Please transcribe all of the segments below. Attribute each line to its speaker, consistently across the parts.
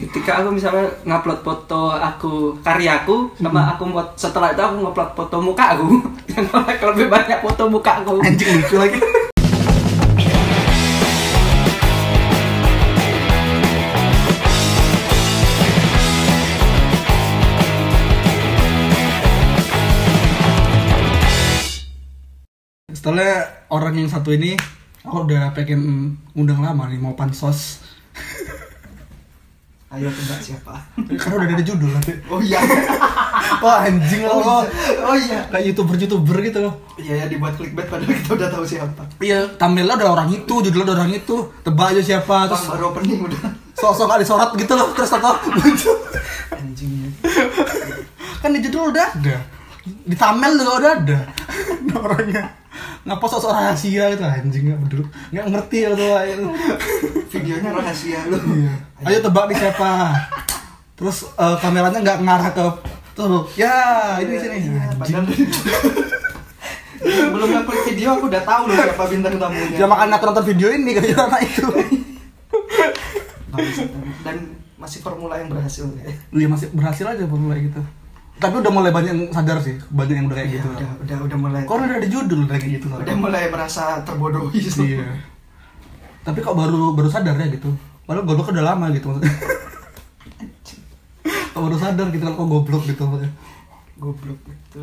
Speaker 1: ketika aku misalnya ngupload foto aku karyaku sama aku buat setelah itu aku ngupload foto muka aku yang like lebih banyak foto muka aku
Speaker 2: Anjing lucu lagi. Setelah orang yang satu ini, aku udah pengen undang lama nih mau pansos.
Speaker 1: ayo tebak siapa
Speaker 2: Karena udah ada judul nanti.
Speaker 1: oh iya
Speaker 2: Wah anjing lo, lo.
Speaker 1: oh iya
Speaker 2: kayak youtuber youtuber gitu loh.
Speaker 1: iya ya dibuat clickbait padahal kita udah tahu siapa
Speaker 2: Iya, thumbnailnya udah orang itu, judulnya udah orang itu, tebak aja
Speaker 1: Bang,
Speaker 2: siapa, terus
Speaker 1: baru opening udah
Speaker 2: sosok ada sorot gitu loh, terus atau muncul.
Speaker 1: anjingnya
Speaker 2: kan di judul udah ada di thumbnail juga udah ada Nah, orangnya ngapa sosok rahasia gitu anjing nggak peduli nggak ngerti ya tuh itu
Speaker 1: videonya rahasia lu
Speaker 2: Iya. ayo tebak nih siapa terus eh, kameranya nggak ngarah ke tuh ya ini di sini
Speaker 1: Iya,
Speaker 2: Anjing.
Speaker 1: padahal dari- belum ngupload video aku udah tahu loh siapa bintang tamunya
Speaker 2: dia makan aku nonton video ini kerja anak itu
Speaker 1: Bangsat. dan masih formula yang berhasil ya
Speaker 2: iya masih berhasil aja baru mulai gitu tapi udah mulai banyak yang sadar sih banyak yang udah kayak
Speaker 1: Iya,
Speaker 2: gitu
Speaker 1: udah udah udah mulai
Speaker 2: kok udah ada judul udah kayak gitu
Speaker 1: udah mulai merasa terbodohi sih.
Speaker 2: iya tapi kok baru baru sadar ya gitu padahal goblok udah lama gitu maksudnya kok baru sadar gitu kalau kok goblok gitu maksudnya
Speaker 1: Goblok itu.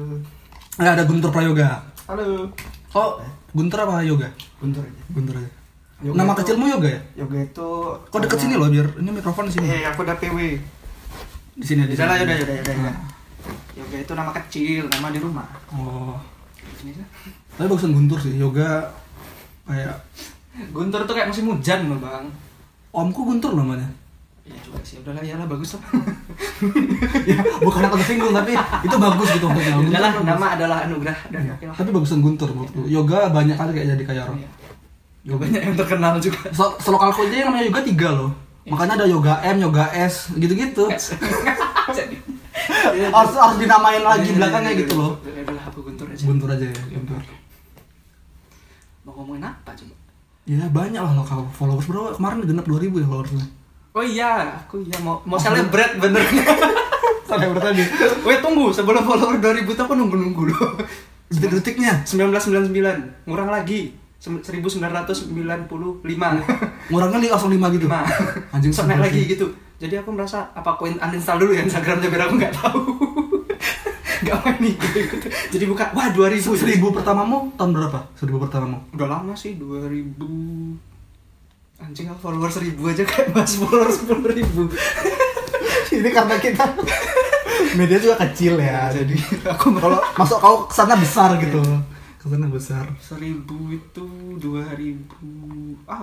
Speaker 2: nah, ada Guntur Prayoga
Speaker 1: Halo.
Speaker 2: kok Guntur apa Yoga
Speaker 1: Guntur aja.
Speaker 2: Guntur aja
Speaker 1: Yoga
Speaker 2: ya. nama
Speaker 1: itu-
Speaker 2: kecilmu Yoga ya
Speaker 1: Yoga itu
Speaker 2: kok deket sini loh biar ini mikrofon di sini
Speaker 1: Eh, aku udah PW.
Speaker 2: di sini di
Speaker 1: Udah
Speaker 2: sini
Speaker 1: lah, udah, udah, udah, udah.
Speaker 2: Nah.
Speaker 1: Yoga itu nama kecil, nama di rumah.
Speaker 2: oh
Speaker 1: Ini tuh.
Speaker 2: tapi bagusan Guntur sih Yoga kayak
Speaker 1: Guntur tuh kayak musim hujan loh, Bang.
Speaker 2: omku Guntur namanya
Speaker 1: Ya juga sih, udahlah ya lah bagus lah.
Speaker 2: ya bukan aku tersinggung tapi itu bagus gitu maksudnya Guntur
Speaker 1: Iya, udahlah,
Speaker 2: bagus. Iya.
Speaker 1: nama Iya. adalah anugerah dan oke lah.
Speaker 2: tapi bagusan Guntur menurutku Yoga banyak kali kayak jadi kayak orang
Speaker 1: Iya. Yoganya yang terkenal juga.
Speaker 2: So, selokalku aja yang namanya yoga tiga loh.
Speaker 1: Iya.
Speaker 2: Makanya ada yoga M, yoga S, gitu-gitu.
Speaker 1: Jadi. Iya,
Speaker 2: Harus harus dinamain lagi belakangnya gitu loh.
Speaker 1: Ya udahlah, aku Guntur aja.
Speaker 2: Guntur aja ya, Guntur.
Speaker 1: Mau ngomongin apa coba?
Speaker 2: Ya banyak lah lokal followers bro. Kemarin genap 2000 ya followersnya.
Speaker 1: Oh iya, aku ya mau mau celebrate bener.
Speaker 2: Sampai berapa tadi?
Speaker 1: Weh tunggu, sebelum follower 2000 tuh aku nunggu-nunggu loh.
Speaker 2: Detik-detiknya
Speaker 1: 1999, ngurang lagi. Sem- 1995.
Speaker 2: ngurangnya li- langsung 5 gitu.
Speaker 1: Lima.
Speaker 2: Anjing
Speaker 1: Sok naik
Speaker 2: sebel
Speaker 1: lagi
Speaker 2: sih.
Speaker 1: gitu. Jadi aku merasa apa aku in- uninstall dulu ya Instagramnya biar aku nggak tahu. Gak main IG gitu. Jadi buka, wah 2000.
Speaker 2: Seribu pertamamu tahun berapa? Seribu pertamamu.
Speaker 1: Udah lama sih 2000. Anjing aku follower 1000 aja kayak mas follower 10.000.
Speaker 2: Ini karena kita media juga kecil ya.
Speaker 1: jadi aku
Speaker 2: Kalau masuk kau kesana besar gitu. Kesana besar.
Speaker 1: seribu itu dua ribu ah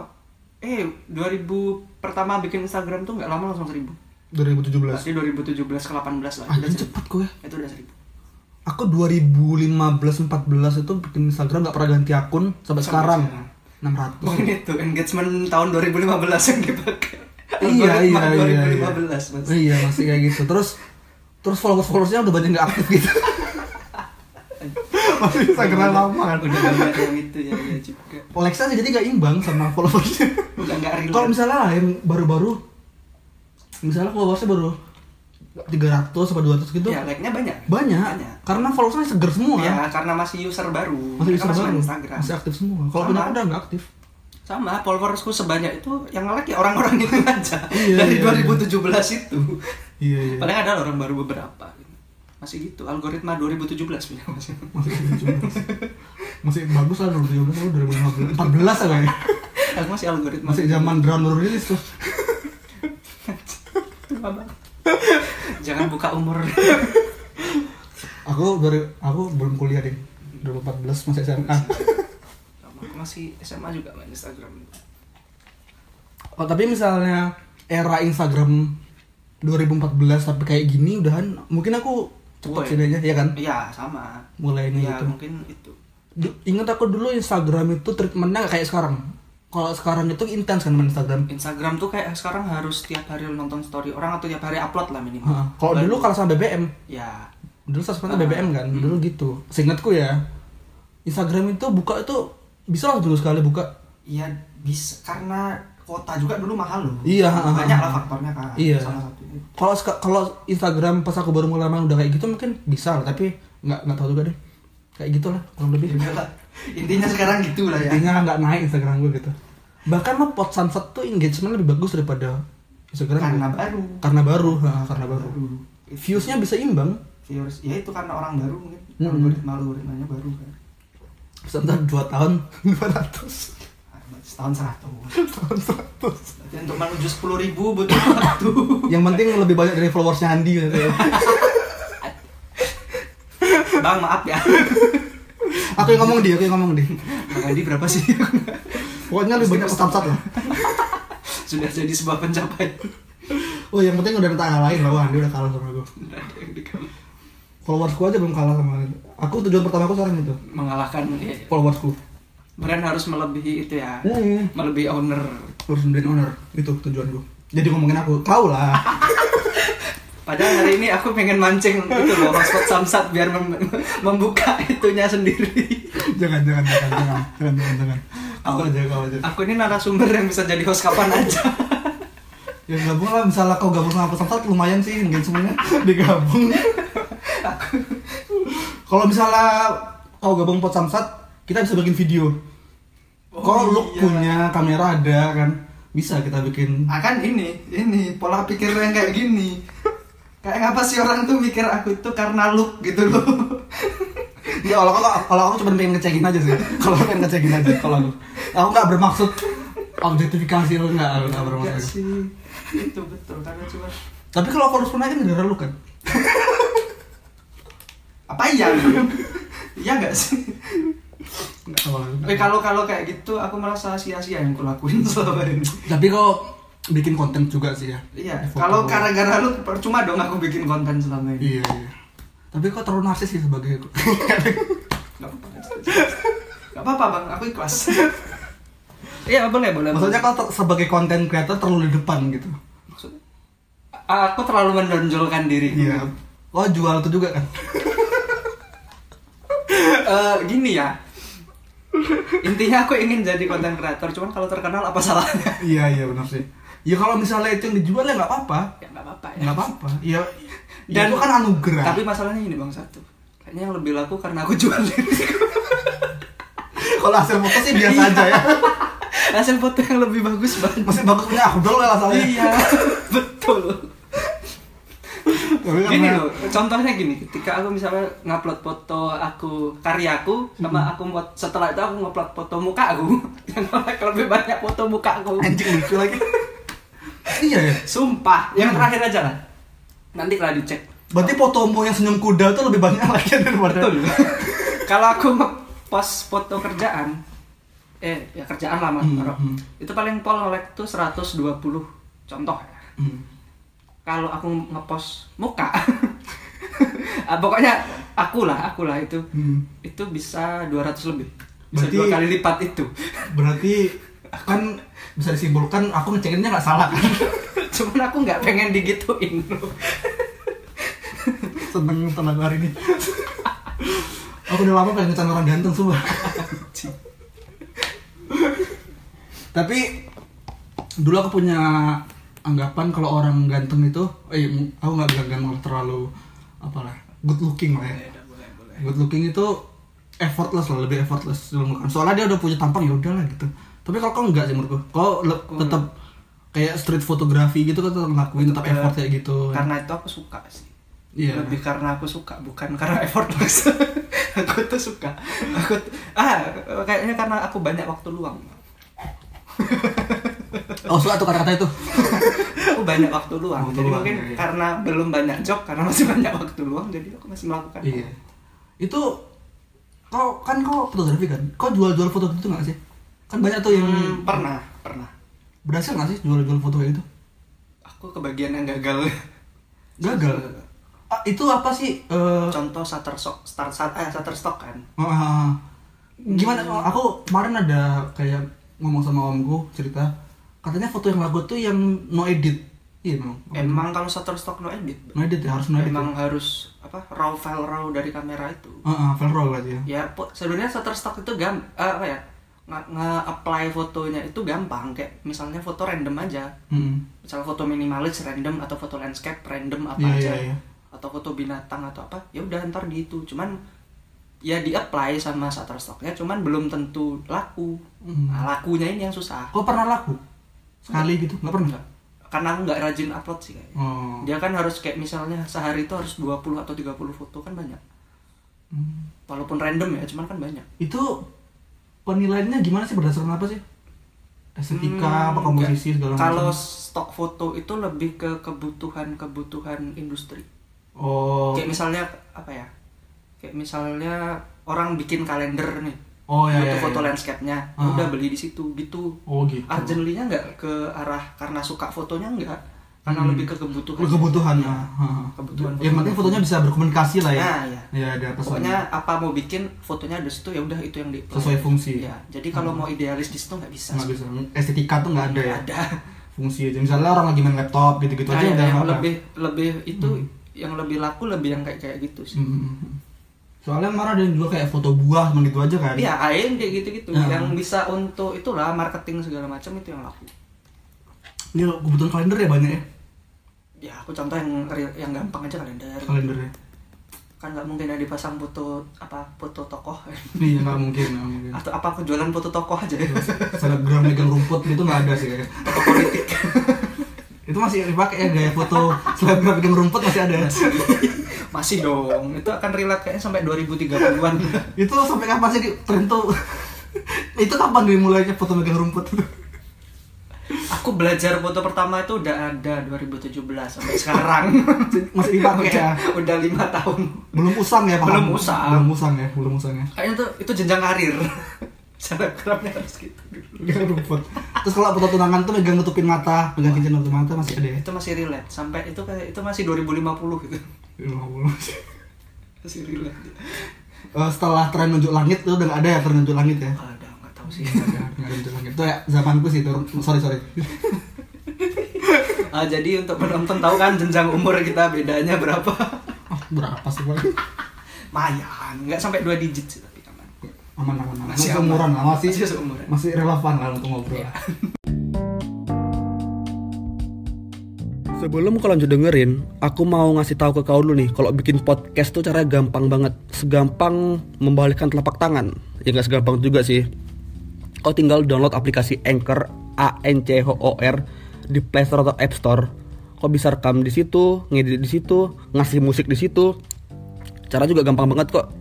Speaker 1: eh dua ribu pertama bikin Instagram tuh nggak lama langsung seribu
Speaker 2: 2017. Iya.
Speaker 1: pasti dua ribu tujuh belas ke delapan belas lah udah
Speaker 2: Anjing
Speaker 1: seribu.
Speaker 2: cepet gue.
Speaker 1: itu udah seribu
Speaker 2: Aku 2015-14 itu bikin Instagram gak pernah ganti akun sampai sekarang. 600.
Speaker 1: mungkin itu engagement tahun 2015 yang dipakai
Speaker 2: iya, iya,
Speaker 1: Algoritma
Speaker 2: iya,
Speaker 1: 2015 mas
Speaker 2: iya. Iya, masih kayak gitu. Terus terus followers-followersnya udah banyak gak aktif gitu. masih Instagram lama kan.
Speaker 1: udah banyak yang itu ya ya juga
Speaker 2: Alexa sih jadi gak imbang sama followersnya.
Speaker 1: udah nggak relate
Speaker 2: Kalau misalnya yang baru-baru misalnya followersnya baru 300 atau 200 gitu.
Speaker 1: ya like-nya banyak
Speaker 2: Banyak. Karena followersnya seger semua.
Speaker 1: ya karena masih user baru
Speaker 2: Masih
Speaker 1: Mereka
Speaker 2: bisa
Speaker 1: main
Speaker 2: baru.
Speaker 1: Instagram
Speaker 2: Masih aktif semua. Kalau
Speaker 1: Sama.
Speaker 2: punya aku udah gak aktif.
Speaker 1: sama followersku sebanyak itu yang nge-like ya orang-orang itu aja
Speaker 2: Iya,
Speaker 1: dari
Speaker 2: iya,
Speaker 1: 2017 itu
Speaker 2: Iya,
Speaker 1: paling ada orang baru beberapa masih gitu algoritma 2017 punya masih
Speaker 2: Masih 17. masih bagus lah ya 2017
Speaker 1: Iya.
Speaker 2: atau 2015 14 apa ya
Speaker 1: aku masih algoritma
Speaker 2: masih zaman drone baru rilis tuh
Speaker 1: Tua banget. jangan buka umur
Speaker 2: aku baru aku belum kuliah deh 2014 masih SMA
Speaker 1: aku masih SMA juga main Instagram
Speaker 2: oh, tapi misalnya era Instagram 2014 tapi kayak gini udahan mungkin aku cepet
Speaker 1: Tua ya?
Speaker 2: sini aja ya kan
Speaker 1: iya sama
Speaker 2: mulainya
Speaker 1: ya
Speaker 2: gitu
Speaker 1: mungkin itu
Speaker 2: Du- ingat aku dulu Instagram itu treatmentnya gak kayak sekarang kalau sekarang itu intens kan main Instagram
Speaker 1: Instagram tuh kayak sekarang harus tiap hari lu nonton story orang atau tiap hari upload lah minimal
Speaker 2: Heeh. kalau
Speaker 1: Baru-
Speaker 2: dulu kalau sama BBM
Speaker 1: ya
Speaker 2: dulu sosmednya BBM kan dulu gitu seingatku ya Instagram itu buka itu bisa lah dulu sekali buka
Speaker 1: Iya bisa karena kota juga dulu mahal loh.
Speaker 2: Iya, ha, ha,
Speaker 1: Banyak
Speaker 2: ha.
Speaker 1: lah faktornya kan.
Speaker 2: Iya.
Speaker 1: Salah satunya.
Speaker 2: Kalau sek- kalau Instagram pas aku baru mulai main udah kayak gitu mungkin bisa lah, tapi nggak nggak tahu juga deh. Kayak gitulah kurang lebih.
Speaker 1: Udah lah. Ya Intinya sekarang gitulah ya.
Speaker 2: Intinya nggak naik Instagram gue gitu. Bahkan mah pot sunset tuh engagement lebih bagus daripada Instagram.
Speaker 1: Karena
Speaker 2: gue.
Speaker 1: baru.
Speaker 2: Karena baru, nah, ya. karena baru.
Speaker 1: Views
Speaker 2: Viewsnya bisa imbang.
Speaker 1: viewers ya itu karena orang baru mungkin.
Speaker 2: Mm-mm.
Speaker 1: Algoritma algoritmanya baru kan.
Speaker 2: Sebentar 2 tahun 200
Speaker 1: Setahun seratus.
Speaker 2: tahun 100
Speaker 1: Berarti untuk menuju sepuluh ribu butuh waktu.
Speaker 2: yang penting lebih banyak dari followersnya Andi gitu ya.
Speaker 1: Bang maaf ya.
Speaker 2: aku yang ngomong dia aku yang ngomong dia
Speaker 1: Bang Andi berapa sih?
Speaker 2: pokoknya lebih banyak stamsat lah
Speaker 1: Sudah jadi sebuah pencapaian.
Speaker 2: oh yang penting udah minta ngalahin lah wah dia udah kalah sama gue
Speaker 1: Tidak ada yang dikal-
Speaker 2: followersku aja belum kalah sama dia. aku tujuan pertama aku sekarang itu
Speaker 1: mengalahkan ya.
Speaker 2: followersku
Speaker 1: Brand harus melebihi itu ya.
Speaker 2: Iya.
Speaker 1: Melebihi owner.
Speaker 2: harus brand owner itu tujuan gue jadi ngomongin aku kau lah
Speaker 1: Padahal hari ini aku pengen mancing itu loh hotspot samsat biar mem- membuka itunya sendiri.
Speaker 2: jangan jangan jangan jangan jangan jangan jangan aku aja kau aja
Speaker 1: Aku ini narasumber yang bisa jadi host kapan aja.
Speaker 2: ya gabung lah misalnya kau gabung sama pesawat lumayan sih mungkin semuanya digabung kalau misalnya kau gabung pot samsat kita bisa bikin video kalau lu
Speaker 1: iya.
Speaker 2: punya kamera ada kan bisa kita bikin
Speaker 1: Akan ini, Ah, kan ini pola pikir yang kayak gini. Kayak ngapa sih orang tuh mikir aku itu karena look gitu loh.
Speaker 2: ya kalau kalau kalau aku cuma pengen ngecekin aja sih kalau pengen ngecekin aja kalau aku aku nggak bermaksud objektifikasi lu nggak aku nggak
Speaker 1: Enggak
Speaker 2: bermaksud
Speaker 1: sih. Itu betul karena cuma
Speaker 2: tapi kalau aku harus pernah kan gara lu kan
Speaker 1: apa iya? Iya enggak sih?
Speaker 2: nggak tahu lah
Speaker 1: Eh kalau kalau kayak gitu aku merasa sia-sia yang kulakuin selama ini.
Speaker 2: tapi kau bikin konten juga sih ya
Speaker 1: Iya,
Speaker 2: Di foto.
Speaker 1: kalau gara-gara lu percuma dong aku bikin konten selama ini.
Speaker 2: Iya, iya. Tapi kok terlalu narsis sih sebagai
Speaker 1: Gak apa-apa. Gak apa-apa bang, aku ikhlas. Iya boleh boleh.
Speaker 2: Maksudnya kok ter- sebagai konten creator terlalu di depan gitu.
Speaker 1: Maksudnya, aku terlalu menonjolkan diri.
Speaker 2: Iya. Lo jual itu juga kan?
Speaker 1: Eh, gini ya. Intinya aku ingin jadi konten kreator, cuman kalau terkenal apa salahnya?
Speaker 2: iya, iya benar sih. Ya kalau misalnya itu yang dijual ya nggak apa-apa.
Speaker 1: Ya nggak apa-apa ya.
Speaker 2: Nggak apa-apa. Ya,
Speaker 1: Dan-
Speaker 2: Dan itu kan anugerah.
Speaker 1: Tapi masalahnya ini bang satu. Kayaknya yang lebih laku karena aku jual diri. Iya.
Speaker 2: kalau hasil foto sih biasa aja ya.
Speaker 1: Hasil foto yang lebih bagus banget.
Speaker 2: Masih bagus punya Abdul lah soalnya.
Speaker 1: Iya, betul.
Speaker 2: Tapi
Speaker 1: gini
Speaker 2: karena-
Speaker 1: loh contohnya gini ketika aku misalnya ngupload foto aku karyaku sama aku buat setelah itu aku ngupload foto muka aku yang like lebih banyak foto muka aku
Speaker 2: Anjing lucu lagi. iya ya.
Speaker 1: sumpah yang terakhir aja lah nanti lah dicek
Speaker 2: Berarti fotomu yang senyum kuda itu lebih banyak lagi daripada
Speaker 1: betul kalau aku ngepost foto kerjaan eh ya kerjaan lama
Speaker 2: Hmm,
Speaker 1: taruh.
Speaker 2: hmm.
Speaker 1: itu paling pol like tuh 120 contoh ya.
Speaker 2: Hmm.
Speaker 1: kalau aku ngepost muka Ah, pokoknya aku lah aku lah itu
Speaker 2: Hmm.
Speaker 1: itu bisa 200 lebih bisa
Speaker 2: Berarti-
Speaker 1: dua kali lipat itu
Speaker 2: Berarti kan bisa disimpulkan aku ngecekinnya nggak salah kan?
Speaker 1: cuman aku nggak pengen digituin loh.
Speaker 2: Seneng tenang hari ini. aku udah lama pengen ngecan orang ganteng semua. Tapi dulu aku punya anggapan kalau orang ganteng itu, eh aku nggak bilang ganteng terlalu apalah good looking lah
Speaker 1: Iya,
Speaker 2: ya. Good looking itu effortless lah, lebih effortless dalam melakukan. Soalnya dia udah punya tampang ya udahlah gitu. Tapi kalau kau enggak sih menurutku, kau le- tetap kayak street fotografi gitu kan tetap ngelakuin tetap effort kayak gitu.
Speaker 1: karena itu aku suka sih
Speaker 2: Iya.
Speaker 1: lebih karena aku suka bukan karena effortless aku tuh suka aku t- ah kayaknya karena aku banyak waktu luang
Speaker 2: Oh, suka tuh kata-kata itu.
Speaker 1: aku banyak waktu luang
Speaker 2: Waktu
Speaker 1: jadi
Speaker 2: luang,
Speaker 1: mungkin
Speaker 2: iya, iya.
Speaker 1: karena belum banyak job karena masih banyak waktu luang jadi aku masih melakukan
Speaker 2: Iya. Itu kau kan kau fotografi kan? Kau jual-jual foto gitu nggak sih? Kan banyak tuh yang
Speaker 1: Hmm, pernah pernah
Speaker 2: berhasil nggak sih jual-jual foto kayak gitu?
Speaker 1: aku kebagian yang gagal
Speaker 2: Gagal. Ah, itu apa sih? Eh,
Speaker 1: contoh Shutterstock start, start, eh, Shutterstock kan
Speaker 2: ah, ah, ah. gimana?
Speaker 1: Hmm.
Speaker 2: Aku kemarin ada kayak ngomong sama omku cerita, katanya foto yang laku tuh yang no edit. Iya memang.
Speaker 1: emang kalau Shutterstock no edit
Speaker 2: No edit ya harus no edit.
Speaker 1: emang harus apa raw file raw dari kamera itu
Speaker 2: Ah, ah, file raw berarti ya.
Speaker 1: ya po- sebenarnya Shutterstock itu gam eh, apa ya nge- nge-apply fotonya itu gampang kayak misalnya foto random aja
Speaker 2: Mm.
Speaker 1: misal foto minimalis random atau foto landscape random apa
Speaker 2: Iya,
Speaker 1: aja
Speaker 2: iya, iya.
Speaker 1: atau foto binatang atau apa ya udah ntar di itu cuman ya di apply sama Shutterstocknya cuman belum tentu laku
Speaker 2: Hmm.
Speaker 1: Nah, lakunya ini yang susah
Speaker 2: Kok pernah laku? Sekali gitu? Nggak pernah?
Speaker 1: Nggak. karena aku nggak rajin upload sih kayaknya
Speaker 2: Oh.
Speaker 1: dia kan harus kayak misalnya sehari itu harus 20 atau 30 foto kan banyak
Speaker 2: Hmm.
Speaker 1: walaupun random ya cuman kan banyak
Speaker 2: Itu penilaiannya gimana sih berdasarkan apa sih? Estetika, apa komposisi segala macam?
Speaker 1: Hmm, kalau stok foto itu lebih ke kebutuhan kebutuhan industri
Speaker 2: Oh.
Speaker 1: kayak misalnya apa ya kayak misalnya orang bikin kalender nih
Speaker 2: Oh ya.
Speaker 1: butuh
Speaker 2: ya,
Speaker 1: foto
Speaker 2: ya.
Speaker 1: landscape-nya ya
Speaker 2: Ah.
Speaker 1: udah beli di situ gitu
Speaker 2: Oh gitu.
Speaker 1: urgently-nya nggak ke arah karena suka fotonya nggak karena
Speaker 2: Hmm.
Speaker 1: lebih ke kebutuhan
Speaker 2: Lu kebutuhan
Speaker 1: Iya.
Speaker 2: ya.
Speaker 1: Kebutuhan
Speaker 2: Yang
Speaker 1: foto.
Speaker 2: penting fotonya bisa berkomunikasi lah ya.
Speaker 1: Nah, iya.
Speaker 2: Ya ada pesan.
Speaker 1: pokoknya apa mau bikin fotonya ada situ ya udah itu yang di
Speaker 2: Sesuai fungsi. Ah.
Speaker 1: ya jadi kalau mau idealis di situ nggak bisa
Speaker 2: nggak bisa. Estetika tuh nggak ada ya.
Speaker 1: Nggak ada
Speaker 2: Fungsi aja. Misalnya orang lagi main laptop gitu-gitu
Speaker 1: Nah,
Speaker 2: aja
Speaker 1: yang,
Speaker 2: udah
Speaker 1: yang
Speaker 2: apa.
Speaker 1: lebih lebih itu yang lebih laku lebih yang kayak kayak gitu sih
Speaker 2: Hmm. Soalnya marah dan juga kayak foto buah cuman gitu aja kan.
Speaker 1: Iya, AIM kayak gitu-gitu
Speaker 2: Nah.
Speaker 1: yang bisa untuk itulah marketing segala macam itu yang laku.
Speaker 2: Ini kebutuhan kalender ya banyak ya.
Speaker 1: Ya, aku contoh yang real- yang gampang aja kalender.
Speaker 2: Kalendernya.
Speaker 1: Kan nggak mungkin ada dipasang foto apa foto tokoh
Speaker 2: Iya nggak mungkin, nggak mungkin.
Speaker 1: atau apa aku jualan foto tokoh aja
Speaker 2: Hmm.
Speaker 1: ya.
Speaker 2: Selebgram megang rumput gitu nggak ada sih kayak.
Speaker 1: Tokoh politik.
Speaker 2: Itu masih dipakai ya gaya foto selebgram megang rumput masih ada.
Speaker 1: Masih dong. Itu akan relate kayaknya sampai 2030-an.
Speaker 2: itu sampai kapan sih di tren tuh? itu kapan dimulainya foto megang rumput?
Speaker 1: Aku belajar foto pertama itu udah ada 2017 sampai sekarang.
Speaker 2: masih dipakai ya?
Speaker 1: udah lima tahun.
Speaker 2: Belum usang ya
Speaker 1: Belum
Speaker 2: paham?
Speaker 1: usang.
Speaker 2: Belum usang ya, belum usang ya.
Speaker 1: Kayaknya tuh itu jenjang karir. Selebgramnya harus gitu dulu.
Speaker 2: Megang rumput. Terus kalau foto tunangan tuh megang nutupin mata, megang cincin nutupin mata masih ada ya?
Speaker 1: itu masih relate sampai itu kayak itu masih 2050 gitu
Speaker 2: Ya, 50.
Speaker 1: masih relate
Speaker 2: Eh, setelah tren nunjuk langit tuh udah nggak ada ya tren nunjuk langit ya?
Speaker 1: Ah, udah nggak tahu sih
Speaker 2: Nggak ada, nggak ada nunjuk langit. Itu ya zamanku sih itu. Sorry sorry.
Speaker 1: Ah, jadi untuk penonton tahu kan jenjang umur kita bedanya berapa
Speaker 2: Ah, berapa sih Pak?
Speaker 1: mayan nggak sampai dua digit sih tapi aman
Speaker 2: Aman aman aman.
Speaker 1: Masih
Speaker 2: Masih
Speaker 1: aman.
Speaker 2: umuran lah masih. Iya.
Speaker 1: Masih seumuran.
Speaker 2: Masih relevan lah untuk ngobrol.
Speaker 3: Sebelum kau lanjut dengerin, aku mau ngasih tahu ke kau dulu nih, kalau bikin podcast tuh cara gampang banget, segampang membalikkan telapak tangan. Ya nggak segampang juga sih. Kau tinggal download aplikasi Anchor A N C H O R di Play Store atau App Store. Kau bisa rekam di situ, ngedit di situ, ngasih musik di situ. Cara juga gampang banget kok.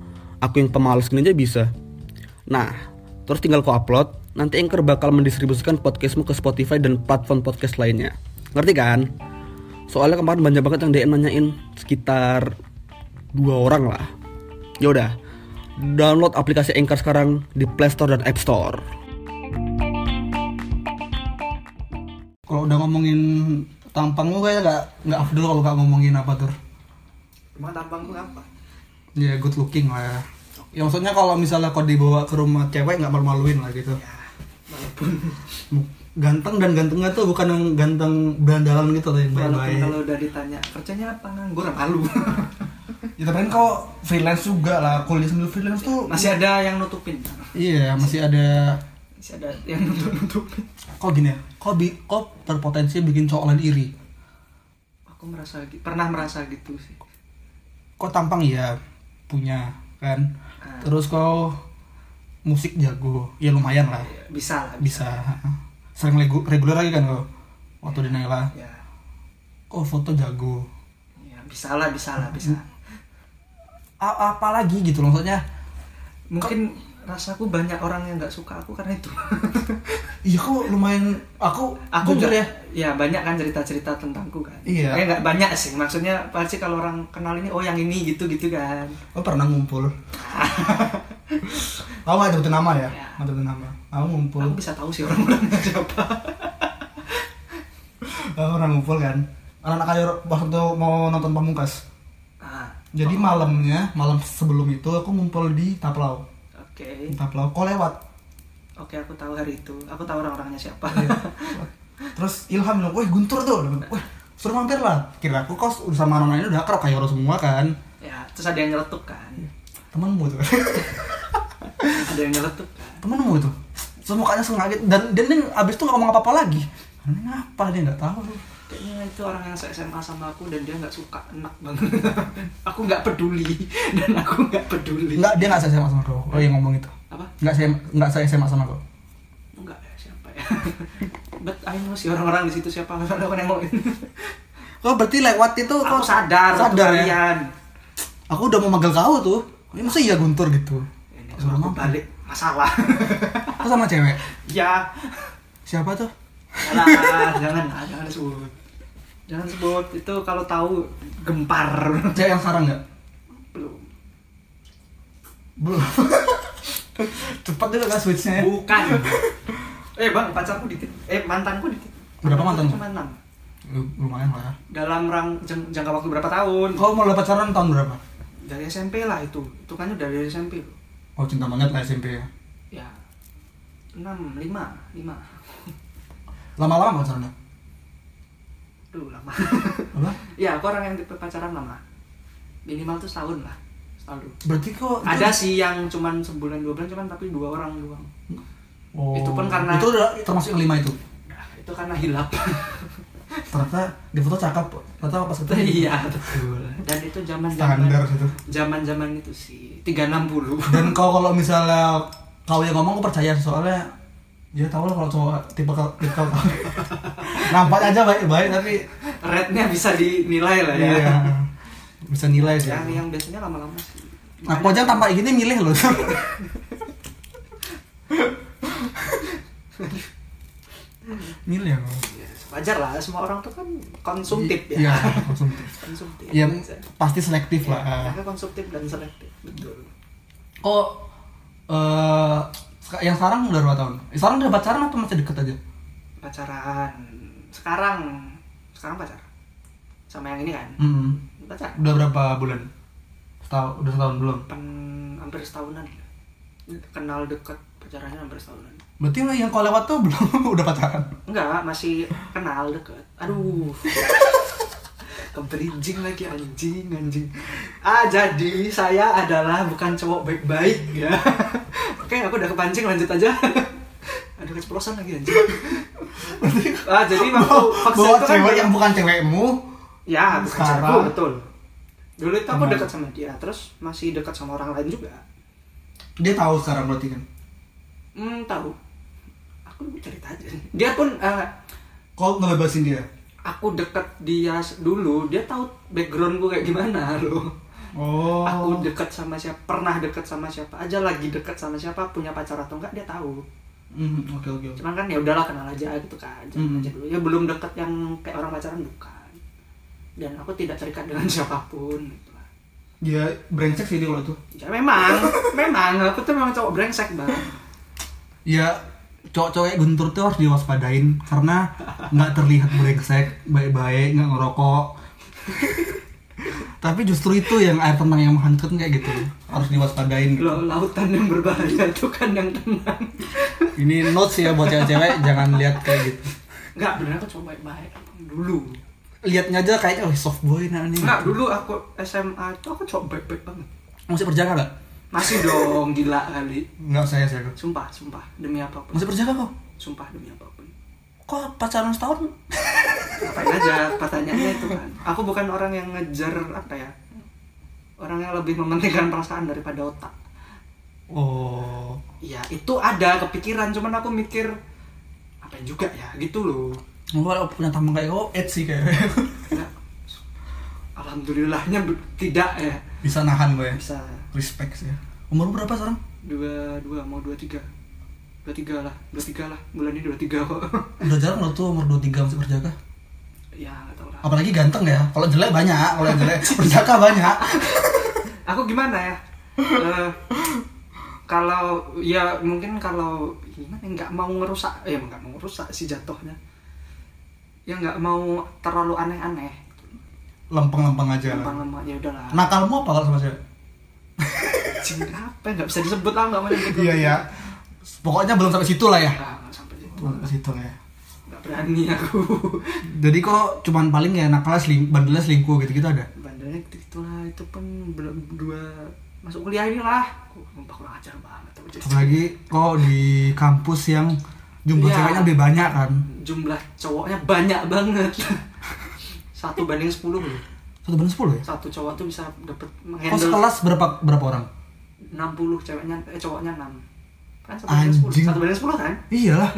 Speaker 3: Aku yang pemalas gini aja bisa. Nah, terus tinggal kau upload, nanti Anchor bakal mendistribusikan podcastmu ke Spotify dan platform podcast lainnya. Ngerti kan? Soalnya kemarin banyak banget yang DM nanyain sekitar dua orang lah. Ya udah, download aplikasi Anchor sekarang di Play Store dan App Store.
Speaker 2: Kalau udah ngomongin tampangmu kayak nggak nggak afdol kalau nggak ngomongin apa tuh?
Speaker 1: emang tampangku apa
Speaker 2: Ya good looking lah ya. Ya maksudnya kalau misalnya kau dibawa ke rumah cewek nggak malu-maluin lah gitu.
Speaker 1: ya walaupun
Speaker 2: Ganteng dan gantengnya tuh bukan yang ganteng berandalan gitu loh yang
Speaker 1: walaupun
Speaker 2: baik-baik.
Speaker 1: kalau udah ditanya kerjanya apa nganggur malu
Speaker 2: Ya tapi kan kau freelance juga lah. Kuliah sambil freelance tuh
Speaker 1: masih ada yang nutupin
Speaker 2: Iya, masih ada
Speaker 1: masih ada yang nutup nutupin
Speaker 2: kok gini ya kok bi kok berpotensi bikin cowok lain iri
Speaker 1: aku merasa gi- pernah merasa gitu sih
Speaker 2: kok tampang ya punya kan
Speaker 1: Ah,
Speaker 2: terus kau musik jago ya lumayan lah
Speaker 1: Ya, bisa lah
Speaker 2: bisa sering legu- reguler lagi kan kau waktu di Naila
Speaker 1: ya
Speaker 2: kok foto jago
Speaker 1: ya bisa lah bisa lah bisa
Speaker 2: A- apalagi gitu loh maksudnya
Speaker 1: mungkin rasaku banyak orang yang nggak suka aku karena itu
Speaker 2: iya kok lumayan aku
Speaker 1: aku
Speaker 2: jujur
Speaker 1: juga ya. banyak kan cerita-cerita tentangku kan
Speaker 2: Iya.
Speaker 1: eh, nggak banyak sih maksudnya pasti kalau orang kenal ini oh yang ini gitu gitu kan
Speaker 2: kau pernah ngumpul kamu ada sebutin nama ya
Speaker 1: Ya.
Speaker 2: ada sebutin nama kamu ngumpul
Speaker 1: aku bisa tahu sih orang-orangnya siapa
Speaker 2: kamu pernah ngumpul kan anak-anak kayu waktu mau nonton pamungkas
Speaker 1: ah
Speaker 2: Jadi malamnya, malam sebelum itu aku ngumpul di Taplau.
Speaker 1: oke
Speaker 2: Di Taplau kok lewat.
Speaker 1: oke aku tahu hari itu aku tahu orang-orangnya siapa
Speaker 2: Iya. Terus Ilham bilang, "Woi, Guntur tuh." Dia bilang, Wih, suruh mampir lah. Kira aku kos sama orang lain udah akrab kayak orang semua kan.
Speaker 1: ya terus ada yang nyeletuk kan
Speaker 2: Iya. Temenmu tuh.
Speaker 1: ada yang nyeletuk kan
Speaker 2: Temenmu tuh. Terus mukanya sengaja dan dan dia abis itu nggak ngomong apa-apa lagi. Ini apa dia nggak tahu.
Speaker 1: kayaknya itu orang yang se-SMA sama aku dan dia nggak suka enak banget aku nggak peduli dan aku nggak peduli
Speaker 2: Enggak, dia nggak saya sama kau. Oh yang ngomong itu.
Speaker 1: apa
Speaker 2: Nggak saya nggak saya SMA sama kau.
Speaker 1: enggak ya siapa ya but I know sih orang-orang di situ siapa orang-orang yang ngomongin
Speaker 2: Oh berarti lewat itu
Speaker 1: aku
Speaker 2: kau
Speaker 1: sadar waktu
Speaker 2: sadar ya.
Speaker 1: kalian
Speaker 2: Aku udah mau manggil kau tuh. Ini masa iya guntur gitu.
Speaker 1: ini
Speaker 2: Aku
Speaker 1: kalau
Speaker 2: suruh
Speaker 1: aku
Speaker 2: ngomong.
Speaker 1: balik masalah
Speaker 2: Kau sama cewek.
Speaker 1: ya
Speaker 2: Siapa tuh?
Speaker 1: Jangan, jangan, ah, jangan sebut. Jangan sebut itu kalau tahu gempar.
Speaker 2: Cewek yang sekarang nggak?
Speaker 1: Belum.
Speaker 2: Belum. Cepat juga kan switchnya. ya.
Speaker 1: Bukan. eh bang, pacarku dikit. Eh mantanku dikit.
Speaker 2: Berapa mantanmu?
Speaker 1: Cuma enam.
Speaker 2: Lu- Lumayan lah. ya.
Speaker 1: Dalam rang jang- jangka waktu berapa tahun?
Speaker 2: Kau mulai pacaran tahun berapa?
Speaker 1: Dari SMP lah itu. Itu kan udah dari SMP loh.
Speaker 2: Oh cinta banget lah SMP ya.
Speaker 1: Ya. Enam, lima, lima.
Speaker 2: Lama-lama pacaran nggak?
Speaker 1: Duh lama.
Speaker 2: Apa?
Speaker 1: ya aku orang yang tipe pacaran lama. Minimal tuh setahun lah. Setahun.
Speaker 2: Berarti kau itu-
Speaker 1: Ada sih yang cuman sebulan dua bulan cuman tapi dua orang doang.
Speaker 2: Oh.
Speaker 1: Itu pun karena-
Speaker 2: itu udah termasuk yang lima itu.
Speaker 1: Nah, itu karena hilap.
Speaker 2: Ternyata di foto cakep. Ternyata pas ketemu
Speaker 1: iya betul. Dan itu zaman zaman
Speaker 2: standar gitu.
Speaker 1: zaman zaman itu sih 360.
Speaker 2: dan kau kalau misalnya kau yang ngomong aku percaya soalnya ya tau lah kalau cowok tipe kau tipe kau nampaknya aja baik baik tapi
Speaker 1: Rednya bisa dinilai lah ya.
Speaker 2: iya, bisa nilai sih
Speaker 1: Yang yang biasanya lama-lama sih.
Speaker 2: aku aja tampak gini milih loh milih aku.
Speaker 1: Ya, wajar lah semua orang tuh kan konsumtif
Speaker 2: Iya,
Speaker 1: ya.
Speaker 2: konsumtif
Speaker 1: Konsumtif.
Speaker 2: ya
Speaker 1: Wajar.
Speaker 2: pasti selektif
Speaker 1: Ya,
Speaker 2: lah
Speaker 1: mereka konsumtif dan selektif. Betul.
Speaker 2: kok eh yang sekarang udah berapa tahun sekarang udah pacaran atau masih deket aja
Speaker 1: Pacaran sekarang sekarang pacar sama yang ini kan
Speaker 2: Mm-mm.
Speaker 1: pacar
Speaker 2: Udah berapa bulan? Setahun, udah setahun belum?
Speaker 1: Pen- hampir setahunan kenal dekat pacarannya hampir setahunan
Speaker 2: Berarti yang kau lewat tuh belum udah pacaran.
Speaker 1: Enggak, masih kenal deket. Aduh. Keberijing lagi anjing, anjing. Ah, jadi saya adalah bukan cowok baik-baik ya. Oke, aku udah kepancing lanjut aja. Aduh, keceplosan lagi anjing. ah, jadi waktu waktu
Speaker 2: Bawa
Speaker 1: itu kan
Speaker 2: cewek
Speaker 1: dia-
Speaker 2: yang bukan cewekmu.
Speaker 1: ya, bukan
Speaker 2: Sekarang.
Speaker 1: cewekku, betul. Dulu itu aku
Speaker 2: Teman.
Speaker 1: dekat sama dia, terus masih dekat sama orang lain juga.
Speaker 2: Dia tahu sekarang berarti kan.
Speaker 1: Hmm, tahu. Aku cerita aja. Dia pun eh,
Speaker 2: Kau ngelebasin dia.
Speaker 1: aku deket dia s- dulu dia tahu background gue kayak gimana loh
Speaker 2: Oh.
Speaker 1: aku deket sama siapa pernah deket sama siapa aja lagi deket sama siapa punya pacar atau enggak dia tahu
Speaker 2: Hmm, oke oke. oke.
Speaker 1: cuman kan ya udahlah kenal aja gitu kan Cuman
Speaker 2: Hmm.
Speaker 1: aja dulu ya belum deket yang kayak orang pacaran bukan dan aku tidak terikat dengan siapapun gitu lah.
Speaker 2: Dia Ya, brengsek sih dia kalau itu.
Speaker 1: ya memang memang aku tuh memang cowok brengsek banget
Speaker 2: Ya cowok-cowok guntur tuh harus diwaspadain karena nggak terlihat brengsek, baik-baik, nggak ngerokok. Tapi justru itu yang air tenang yang menghancurkan kayak gitu harus diwaspadain. Gitu.
Speaker 1: loh lautan yang berbahaya itu kan yang tenang
Speaker 2: Ini notes ya buat cewek-cewek jangan lihat kayak gitu.
Speaker 1: nggak bener aku cowok baik-baik dulu
Speaker 2: Lihatnya aja kayaknya oh, soft boy nah ini.
Speaker 1: nggak dulu aku SMA itu aku cowok baik-baik banget
Speaker 2: Masih perjaka gak?
Speaker 1: Masih dong, gila kali.
Speaker 2: Enggak saya saya.
Speaker 1: Sumpah, sumpah demi apapun.
Speaker 2: Masih perjaka kok.
Speaker 1: Sumpah demi apapun.
Speaker 2: Kok pacaran setahun?
Speaker 1: Ngapain aja pertanyaannya itu kan. Aku bukan orang yang ngejar apa ya. Orang yang lebih mementingkan perasaan daripada otak.
Speaker 2: Oh.
Speaker 1: Ya, itu ada kepikiran, cuman aku mikir apa juga ya gitu loh.
Speaker 2: Lu kalau punya teman kayak kau, Ed sih kayaknya.
Speaker 1: Ya, Alhamdulillahnya be- tidak ya.
Speaker 2: Bisa nahan gue ya.
Speaker 1: Bisa
Speaker 2: Respect sih. ya. Umur lu berapa sekarang?
Speaker 1: dua dua mau dua tiga dua tiga lah dua tiga lah bulan ini dua tiga kok
Speaker 2: Udah jarang lo tuh umur 23 masih perjaka.
Speaker 1: ya nggak tahu lah
Speaker 2: Apalagi ganteng ya. Kalau jelek banyak, kalau yang jelek perjaka banyak.
Speaker 1: aku gimana ya Eh, kalau ya mungkin kalau gimana ya, nggak mau ngerusak ya nggak mau ngerusak sih jatuhnya ya nggak mau terlalu aneh-aneh
Speaker 2: Lempeng-lempeng aja.
Speaker 1: gampang lemah ya udahlah
Speaker 2: Nakalmu apa kalau sama cewek?
Speaker 1: Anjing, apa ya? nggak bisa disebut lah nggak mau nyebut.
Speaker 2: Iya, ya. Pokoknya belum sampai situ lah ya.
Speaker 1: Nggak, nggak sampai situ.
Speaker 2: Belum sampai situ lah ya.
Speaker 1: nggak berani aku
Speaker 2: Jadi kok cuman paling ya nakalnya seling, bandelnya selingkuh gitu-gitu ada?
Speaker 1: bandelnya gitu gitulah itu pun belum dua masuk kuliah inilah aku sumpah kurang ajar banget aku jadi-
Speaker 2: Apalagi kok di kampus yang jumlah
Speaker 1: Iya.
Speaker 2: ceweknya lebih banyak kan
Speaker 1: jumlah cowoknya banyak banget satu banding sepuluh loh
Speaker 2: Satu banding sepuluh ya?
Speaker 1: satu cowok tuh bisa dapat
Speaker 2: Kos
Speaker 1: menghandle
Speaker 2: kelas berapa berapa orang?
Speaker 1: 60 ceweknya eh cowoknya 6 kan satu banding sepuluh
Speaker 2: Anjing.
Speaker 1: satu banding sepuluh kan
Speaker 2: Iyalah.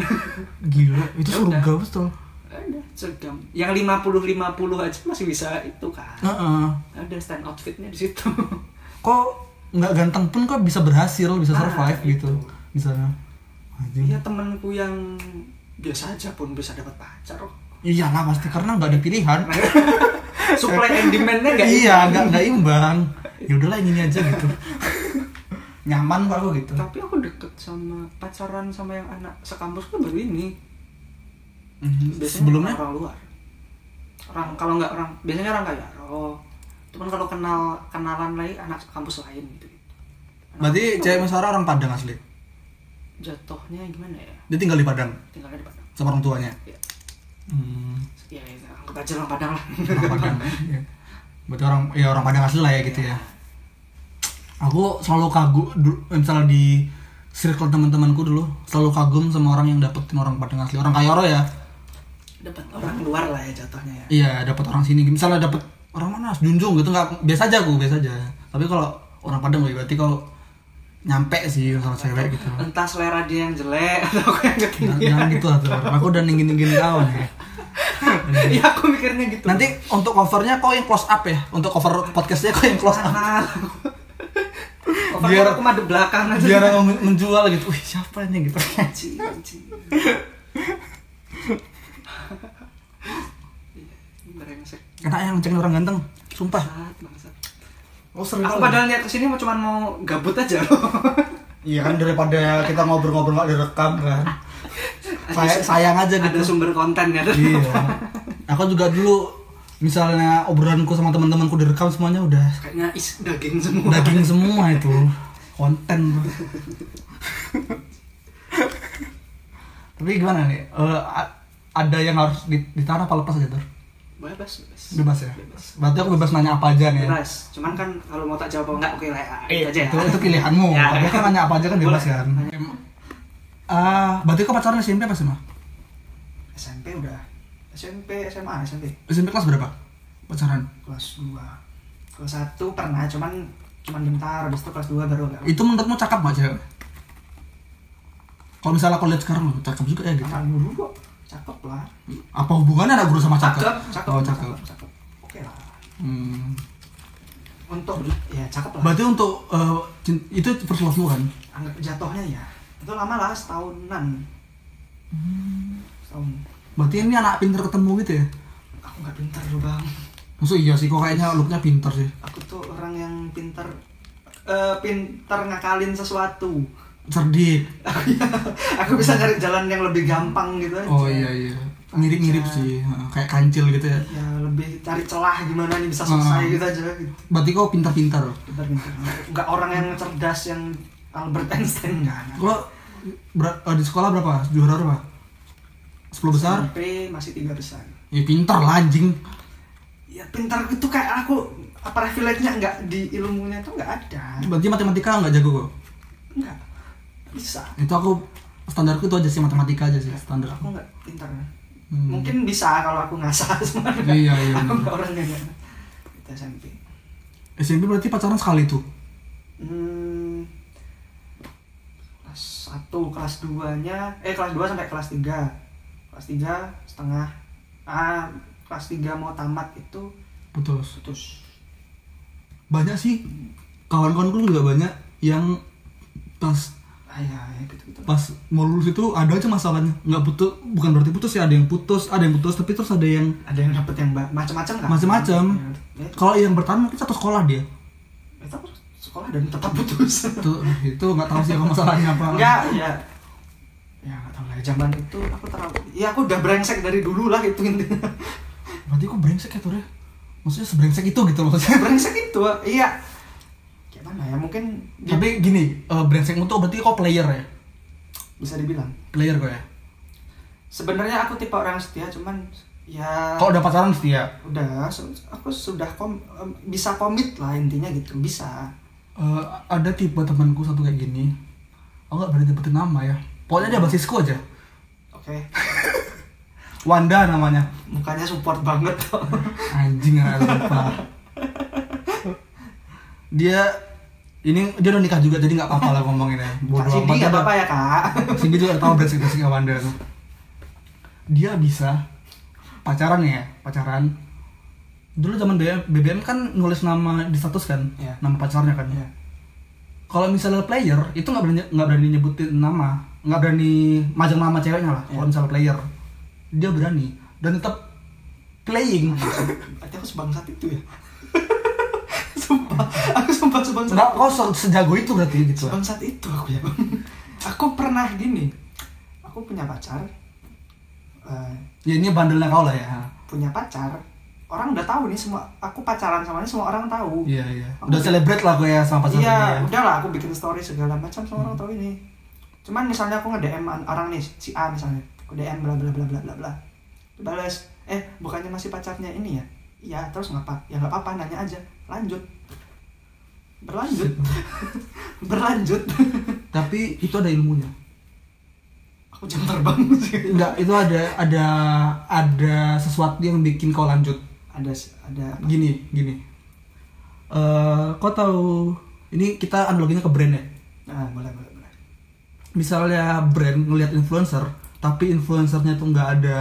Speaker 2: Gila, itu
Speaker 1: Ya
Speaker 2: surga
Speaker 1: udah.
Speaker 2: betul.
Speaker 1: ada segam yang 50 50 aja masih bisa itu kan
Speaker 2: Heeh.
Speaker 1: ada stand outfitnya di situ
Speaker 2: Kok nggak ganteng pun kok bisa berhasil, bisa
Speaker 1: Ah,
Speaker 2: survive gitu
Speaker 1: gitu.
Speaker 2: di sana. Anjing.
Speaker 1: iya temanku yang biasa aja pun bisa dapat pacar kok.
Speaker 2: Iyalah pasti karena nggak ada pilihan.
Speaker 1: supply and demand-nya nggak imbang.
Speaker 2: iya, nggak nggak imbang. Ya udahlah ini aja gitu. Nyaman kok aku gitu.
Speaker 1: tapi aku deket sama pacaran sama yang anak sekampus kan baru ini
Speaker 2: Mhm.
Speaker 1: biasanya
Speaker 2: Sebelumnya
Speaker 1: orang luar orang kalau nggak orang biasanya orang kaya oh cuman kalau kenal kenalan lagi anak kampus lain gitu
Speaker 2: berarti cewek Mesara orang Padang asli.
Speaker 1: jatuhnya gimana ya
Speaker 2: Dia tinggal di Padang
Speaker 1: tinggalnya di Padang
Speaker 2: sama orang tuanya.
Speaker 1: ya,
Speaker 2: Hmm.
Speaker 1: ya, ya anggap aja orang Padang lah
Speaker 2: orang Padang ya. berarti orang ya orang Padang asli lah ya gitu ya aku selalu kagum du- eh, misalnya di circle teman-temanku dulu selalu kagum sama orang yang dapetin orang Padang asli orang Kayoro ya
Speaker 1: dapat orang luar lah ya jatuhnya ya
Speaker 2: iya dapet orang sini misalnya dapet orang mana Junjung gitu nggak biasa aja aku biasa aja tapi kalau orang Padang berarti kalau nyampe sih sama cewek gitu
Speaker 1: entah selera dia yang jelek atau aku yang
Speaker 2: jangan,
Speaker 1: ketinggian
Speaker 2: jangan gitu lah tuh orang. aku udah ninggin ninggin kawan ya
Speaker 1: ya aku mikirnya gitu
Speaker 2: nanti untuk covernya kau yang close up ya untuk cover podcastnya kau yang close up
Speaker 1: kenal biar
Speaker 2: Biar-
Speaker 1: aku mah di belakang aja
Speaker 2: biar orang men- menjual gitu wih siapa ini gitu
Speaker 1: Anjing, anjing. Iya, Brengsek.
Speaker 2: enak yang ngecek orang ganteng sumpah
Speaker 1: Bangsat, bangsat.
Speaker 2: oh seru
Speaker 1: Aku padahal niat kesini mau cuman mau gabut aja loh.
Speaker 2: iya kan daripada kita ngobrol-ngobrol nggak direkam kan Say- sayang aja
Speaker 1: Ada
Speaker 2: gitu
Speaker 1: sumber konten kan?
Speaker 2: iya aku juga dulu misalnya obrolanku sama teman-temanku direkam semuanya udah
Speaker 1: Kayaknya is daging semua.
Speaker 2: daging semua itu konten bro. tapi gimana nih Eh, a- ada yang harus di- ditaruh apa lepas gitu
Speaker 1: Bebas, bebas.
Speaker 2: bebas ya
Speaker 1: Bebas.
Speaker 2: berarti aku bebas nanya apa aja nih ya?
Speaker 1: Bebas. Cuman kan kalau mau tak jawab apa enggak oke lah ya.
Speaker 2: Iya,
Speaker 1: aja ya.
Speaker 2: itu, itu pilihanmu.
Speaker 1: Ya.
Speaker 2: Tapi kan nanya apa aja kan bebas
Speaker 1: Boleh.
Speaker 2: kan. Em- Ah, berarti kau pacaran SMP apa sih, mah?
Speaker 1: SMP udah. SMP, SMA, SMP.
Speaker 2: SMP kelas berapa? Pacaran.
Speaker 1: Kelas 2. Kelas 1 pernah, cuman cuman bentar. Habis itu kelas 2 baru enggak.
Speaker 2: Itu menurutmu cakep gak cewek? Kalau misalnya aku lihat sekarang loh, cakep juga ya gitu.
Speaker 1: Apaan dulu kok? Cakep lah.
Speaker 2: Apa hubungannya anak guru sama cakep?
Speaker 1: cakep,
Speaker 2: Oh,
Speaker 1: cakep,
Speaker 2: cakep.
Speaker 1: cakep. Oke lah.
Speaker 2: Hmm.
Speaker 1: Untuk ya cakep lah.
Speaker 2: Berarti untuk eh, cin- itu first love kan?
Speaker 1: Anggap jatuhnya ya. Itu lama lah setahunan. Setahun.
Speaker 2: Berarti ini anak pinter ketemu gitu ya?
Speaker 1: Aku nggak pintar loh bang.
Speaker 2: Maksud iya sih, kok kayaknya looknya pinter sih.
Speaker 1: Aku tuh orang yang pintar. eh pintar ngakalin sesuatu.
Speaker 2: Cerdik.
Speaker 1: aku bisa cari jalan yang lebih gampang gitu aja.
Speaker 2: Oh iya iya. Mirip-mirip sih, Heeh, kayak kancil gitu ya.
Speaker 1: Ya lebih cari celah gimana nih bisa selesai
Speaker 2: Ah.
Speaker 1: gitu aja. Gitu.
Speaker 2: Berarti kau pinter-pinter.
Speaker 1: Pintar-pintar. Nggak orang yang cerdas yang Albert Einstein nggak.
Speaker 2: Lo ber- eh, di sekolah berapa? Juara berapa? 10 besar?
Speaker 1: SMP masih tiga besar.
Speaker 2: Ya pinter lah anjing.
Speaker 1: ya pintar itu kayak aku apa privilege-nya nggak di ilmunya tuh nggak ada
Speaker 2: Berarti matematika nggak jago kok.
Speaker 1: nggak bisa
Speaker 2: Itu aku standarku itu aja sih matematika aja sih standar.
Speaker 1: aku nggak pintar
Speaker 2: Hmm.
Speaker 1: mungkin bisa kalau aku ngasah sebenarnya
Speaker 2: Iya, iya,
Speaker 1: aku
Speaker 2: iya.
Speaker 1: nggak orang yang nggak itu SMP
Speaker 2: SMP berarti pacaran sekali tuh.
Speaker 1: hmm, kelas satu kelas 2 nya eh kelas 2 sampai kelas 3 kelas 3 setengah ah kelas 3 mau tamat itu
Speaker 2: Putus.
Speaker 1: putus
Speaker 2: Banyak sih kawan-kawanku juga banyak yang pas
Speaker 1: ah ya, ya gitu gitu
Speaker 2: pas mau lulus itu ada aja masalahnya nggak putus bukan berarti putus ya ada yang putus ada yang putus tapi terus ada yang
Speaker 1: ada yang dapet yang ba- macam-macam nggak
Speaker 2: macam-macam
Speaker 1: Ya, itu-
Speaker 2: kalau yang bertahan mungkin satu sekolah dia
Speaker 1: itu sekolah dan tetap putus
Speaker 2: itu itu nggak tahu sih apa masalahnya apa
Speaker 1: enggak ya ya nggak tahu lah zaman itu aku terlalu ya aku udah brengsek dari dulu lah itu intinya
Speaker 2: Berarti kok brengsek ya Tore? Maksudnya sebrengsek itu gitu loh maksudnya.
Speaker 1: brengsek itu iya gimana ya mungkin di-
Speaker 2: Tapi gini, eh, brengsekmu tuh berarti kok player ya?
Speaker 1: bisa dibilang
Speaker 2: Player kok ya?
Speaker 1: sebenarnya aku tipe orang setia cuman ya
Speaker 2: Kalau udah pacaran setia?
Speaker 1: udah se- aku sudah kom em, bisa komit lah intinya gitu bisa
Speaker 2: Eh, ada tipe temanku satu kayak gini. Aku nggak berani dapetin nama ya. Pokoknya dia basisku aja.
Speaker 1: oke
Speaker 2: Wanda namanya.
Speaker 1: mukanya support banget kok
Speaker 2: Anjing ah, lupa. Dia ini dia udah nikah juga jadi nggak apa-apa lah ngomonginnya.
Speaker 1: Kak
Speaker 2: Bodoh
Speaker 1: Cindy
Speaker 2: amat
Speaker 1: nggak
Speaker 2: dia.
Speaker 1: apa-apa ya kak
Speaker 2: Cindy juga tahu berat situasi kayak Wanda tuh. Dia bisa pacaran ya, pacaran. Dulu zaman BBM, BBM kan nulis nama di status kan,
Speaker 1: Iya.
Speaker 2: nama pacarnya kan.
Speaker 1: Iya.
Speaker 2: Kalau misalnya player itu nggak berani nggak berani nyebutin nama, nggak berani majang nama
Speaker 1: Iya.
Speaker 2: ceweknya lah. Kalau misalnya player, dia berani dan tetap playing.
Speaker 1: berarti aku sebangsat itu ya sumpah aku sumpah sebangsat
Speaker 2: Nggak kosong sejago itu berarti gitu.
Speaker 1: sebangsat itu aku ya Bang. aku pernah gini aku punya pacar Eh,
Speaker 2: Ya ini bandelnya kau lah
Speaker 1: Iya.
Speaker 2: ya.
Speaker 1: punya pacar orang udah tahu nih semua aku pacaran sama dia semua orang tahu
Speaker 2: Iya iya. Udah celebrate lah gue ya sama Hmm. pacarnya.
Speaker 1: iya
Speaker 2: ya.
Speaker 1: udah lah aku bikin story segala macam semua orang tahu ini cuman misalnya aku nge DM orang nih si A misalnya aku DM bla bla bla bla bla bla balas eh bukannya masih pacarnya ini ya iya terus ngapa ya nggak apa-apa nanya aja lanjut berlanjut berlanjut
Speaker 2: Tapi itu ada ilmunya.
Speaker 1: aku jam terbang sih
Speaker 2: Enggak, itu ada ada ada sesuatu yang bikin kau lanjut.
Speaker 1: ada ada apa?
Speaker 2: Gini, gini. Eh, kau tahu ini kita analoginya ke brand ya.
Speaker 1: nah boleh boleh boleh
Speaker 2: Misalnya brand ngelihat influencer, tapi influencernya tuh nggak ada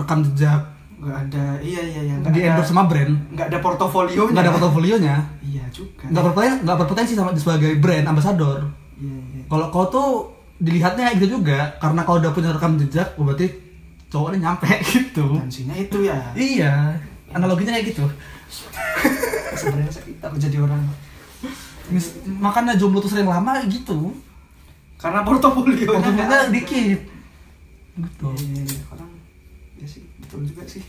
Speaker 2: rekam jejak
Speaker 1: nggak ada iya iya iya nggak
Speaker 2: di
Speaker 1: ada
Speaker 2: endorse sama brand,
Speaker 1: nggak ada portofolio
Speaker 2: nggak ada portofolionya,
Speaker 1: iya juga
Speaker 2: nggak berpotensi, nggak berpotensi sama sebagai brand ambassador.
Speaker 1: iya iya
Speaker 2: Kalau kau tuh dilihatnya gitu juga, karena kau udah punya rekam jejak, oh berarti cowoknya nyampe gitu.
Speaker 1: tensinya itu ya
Speaker 2: Iya, analoginya kayak gitu.
Speaker 1: sebenarnya sakit aku jadi orang
Speaker 2: Mis- makanya jomblo tuh sering lama
Speaker 1: Oh,
Speaker 2: gitu
Speaker 1: karena portofolio
Speaker 2: portofolionya dikit gitu
Speaker 1: Iya, orang ya sih betul juga sih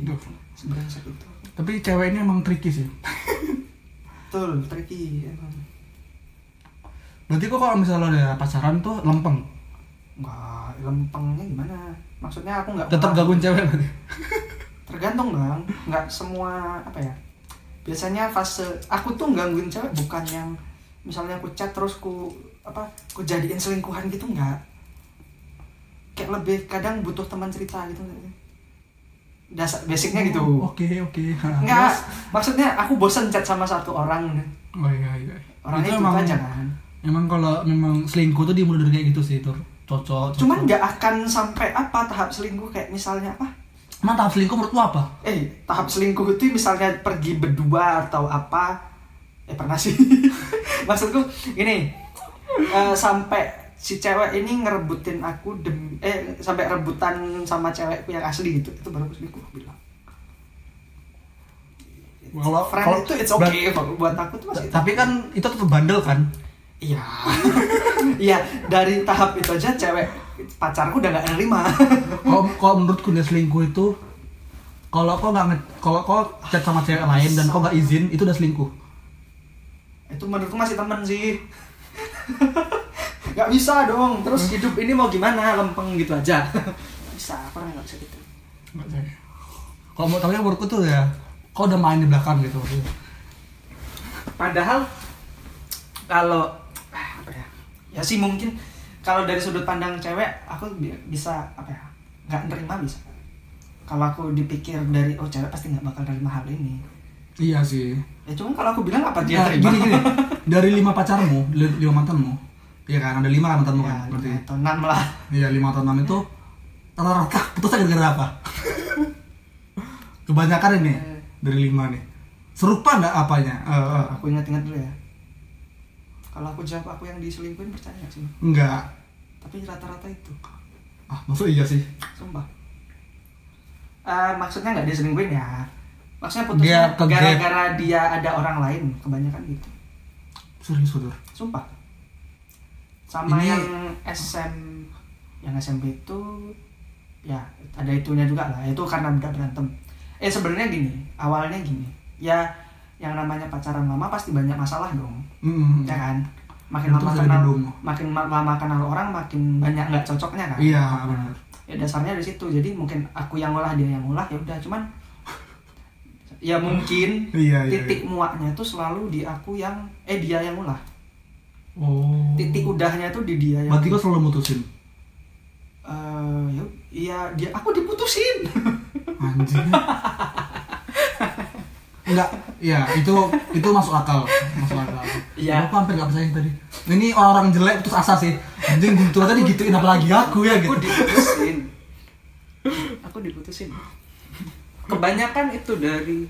Speaker 1: Ini
Speaker 2: Duh.
Speaker 1: sebenarnya sakit itu
Speaker 2: tapi cewek ini emang tricky sih
Speaker 1: betul tricky emang
Speaker 2: berarti kok kalau misalnya udah pacaran tuh lempeng
Speaker 1: nggak lempengnya gimana maksudnya aku nggak
Speaker 2: tetap
Speaker 1: pernah-
Speaker 2: gangguin cewek berarti
Speaker 1: tergantung bang nggak semua apa ya biasanya fase aku tuh gangguin cewek bukan yang misalnya aku chat terus ku apa ku jadiin selingkuhan gitu nggak kayak lebih kadang butuh teman cerita gitu dasar basicnya gitu
Speaker 2: Oh, oke oke
Speaker 1: nggak maksudnya aku bosen chat sama satu orang
Speaker 2: oh iya iya
Speaker 1: orangnya itu, aja kan
Speaker 2: emang kalau memang selingkuh tuh dimulai dari kayak gitu sih tuh cocok
Speaker 1: cuman nggak akan sampai apa tahap selingkuh kayak misalnya "Ah, apa
Speaker 2: emang tahap selingkuh menurut lu apa
Speaker 1: eh tahap selingkuh itu misalnya pergi berdua atau apa eh pernah sih maksudku gini eh, sampai si cewek ini ngerebutin aku demi eh sampai rebutan sama cewekku yang asli gitu itu baru aku selingkuh aku bilang
Speaker 2: Kalau-
Speaker 1: friend
Speaker 2: kalau-
Speaker 1: itu it's okay buat aku tuh masih
Speaker 2: tapi kan itu tetap bandel kan
Speaker 1: iya iya dari tahap itu aja cewek pacarku udah gak nerima Hmm.
Speaker 2: kalau kalau menurutku dia selingkuh itu kalau kau nggak nge- kalau kau chat sama cewek lain dan kau nggak izin itu udah selingkuh
Speaker 1: itu menurutku masih temen sih nggak bisa dong
Speaker 2: Hmm.
Speaker 1: terus hidup ini mau gimana lempeng gitu aja Nggak bisa orang nggak bisa gitu
Speaker 2: Nggak tahu. Kalau mau tahu yang menurutku tuh ya, kau udah main di belakang gitu.
Speaker 1: padahal kalau ah, apa ya ya sih mungkin kalau dari sudut pandang cewek aku bi- bisa apa ya nggak nerima bisa kalau aku dipikir dari oh cewek pasti nggak bakal nerima hal ini
Speaker 2: Iya sih.
Speaker 1: ya cuman kalau aku bilang apa dia
Speaker 2: Nah,
Speaker 1: terima
Speaker 2: gini gini, dari lima pacarmu, li- lima mantanmu, iya kan ada lima kan mantanmu
Speaker 1: ya,
Speaker 2: kan, berarti.
Speaker 1: lima atau enam lah
Speaker 2: Iya lima atau enam itu rata-rata putus gara-gara apa? Kebanyakan ini dari lima nih. Iya. Serupa nggak apanya? Eh, eh,
Speaker 1: aku ingat-ingat dulu ya kalau aku jawab aku yang diselingkuhin percaya nggak sih
Speaker 2: nggak.
Speaker 1: tapi rata-rata itu
Speaker 2: Ah, maksud iya sih.
Speaker 1: sumpah Eh, maksudnya nggak dia selingkuhin ya maksudnya putusnya
Speaker 2: Dia ke gap.
Speaker 1: gara-gara dia ada orang lain kebanyakan gitu
Speaker 2: Serius betul.
Speaker 1: sumpah sama
Speaker 2: Ini-
Speaker 1: yang SM yang SMP itu ya ada itunya juga lah itu karena udah berantem eh sebenarnya gini awalnya gini ya yang namanya pacaran lama pasti banyak masalah dong
Speaker 2: Mm,
Speaker 1: ya kan makin
Speaker 2: Itu
Speaker 1: lama
Speaker 2: dari
Speaker 1: kenal
Speaker 2: gedung.
Speaker 1: makin ma- lama kenal orang makin banyak nggak cocoknya kan
Speaker 2: Iya benar.
Speaker 1: ya dasarnya dari situ jadi mungkin aku yang ngolah dia yang ngolah ya udah cuman ya mungkin
Speaker 2: Iya iya.
Speaker 1: titik
Speaker 2: iya.
Speaker 1: muaknya itu selalu di aku yang eh dia yang ngolah
Speaker 2: Oh.
Speaker 1: titik udahnya tuh di dia yang
Speaker 2: Berarti kau selalu mutusin?
Speaker 1: Eh, ya iya dia aku diputusin
Speaker 2: anjing enggak ya itu itu masuk akal masuk akal
Speaker 1: Iya.
Speaker 2: aku hampir nggak percaya tadi ini orang jelek putus asa sih anjing guntur tadi gituin apalagi aku ya gitu
Speaker 1: aku diputusin aku diputusin kebanyakan itu dari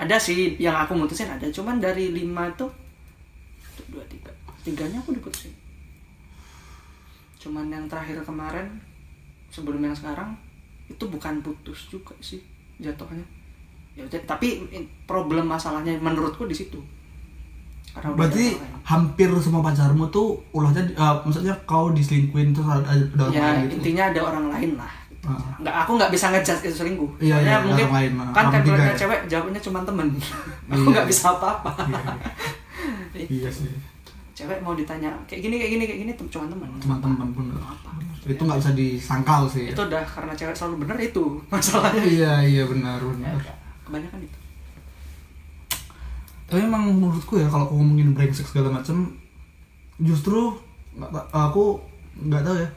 Speaker 1: ada sih yang aku mutusin ada cuman dari lima tuh satu, dua tiga tiganya aku diputusin cuman yang terakhir kemarin sebelum yang sekarang itu bukan putus juga sih jatuhnya ya udah, tapi problem masalahnya menurutku di situ Karena udah
Speaker 2: berarti
Speaker 1: jatuh kan.
Speaker 2: hampir semua pacarmu tuh ulahnya di- eh, maksudnya kau diselingkuin terus ada, ada ada orang
Speaker 1: ya
Speaker 2: lain gitu
Speaker 1: intinya ada orang lain lah gitu.
Speaker 2: Ah.
Speaker 1: nggak aku nggak bisa ngejudge itu selingkuh
Speaker 2: Iya,
Speaker 1: Soalnya
Speaker 2: iya, ada
Speaker 1: mungkin
Speaker 2: orang lain lah.
Speaker 1: kan
Speaker 2: Kamu tiga
Speaker 1: kategorinya
Speaker 2: ya?
Speaker 1: cewek jawabnya cuma temen aku nggak bisa apa-apa
Speaker 2: iya sih
Speaker 1: cewek mau ditanya kayak gini kayak gini kayak gini tem- cuma temen
Speaker 2: teman-teman pun nggak
Speaker 1: Apa?
Speaker 2: itu nggak bisa disangkal sih
Speaker 1: itu udah karena cewek selalu bener itu masalahnya
Speaker 2: iya iya benar benar
Speaker 1: kebanyakan itu
Speaker 2: tapi emang menurutku ya kalau aku ngomongin brengsek segala macem justru nggak ta- aku nggak tahu ya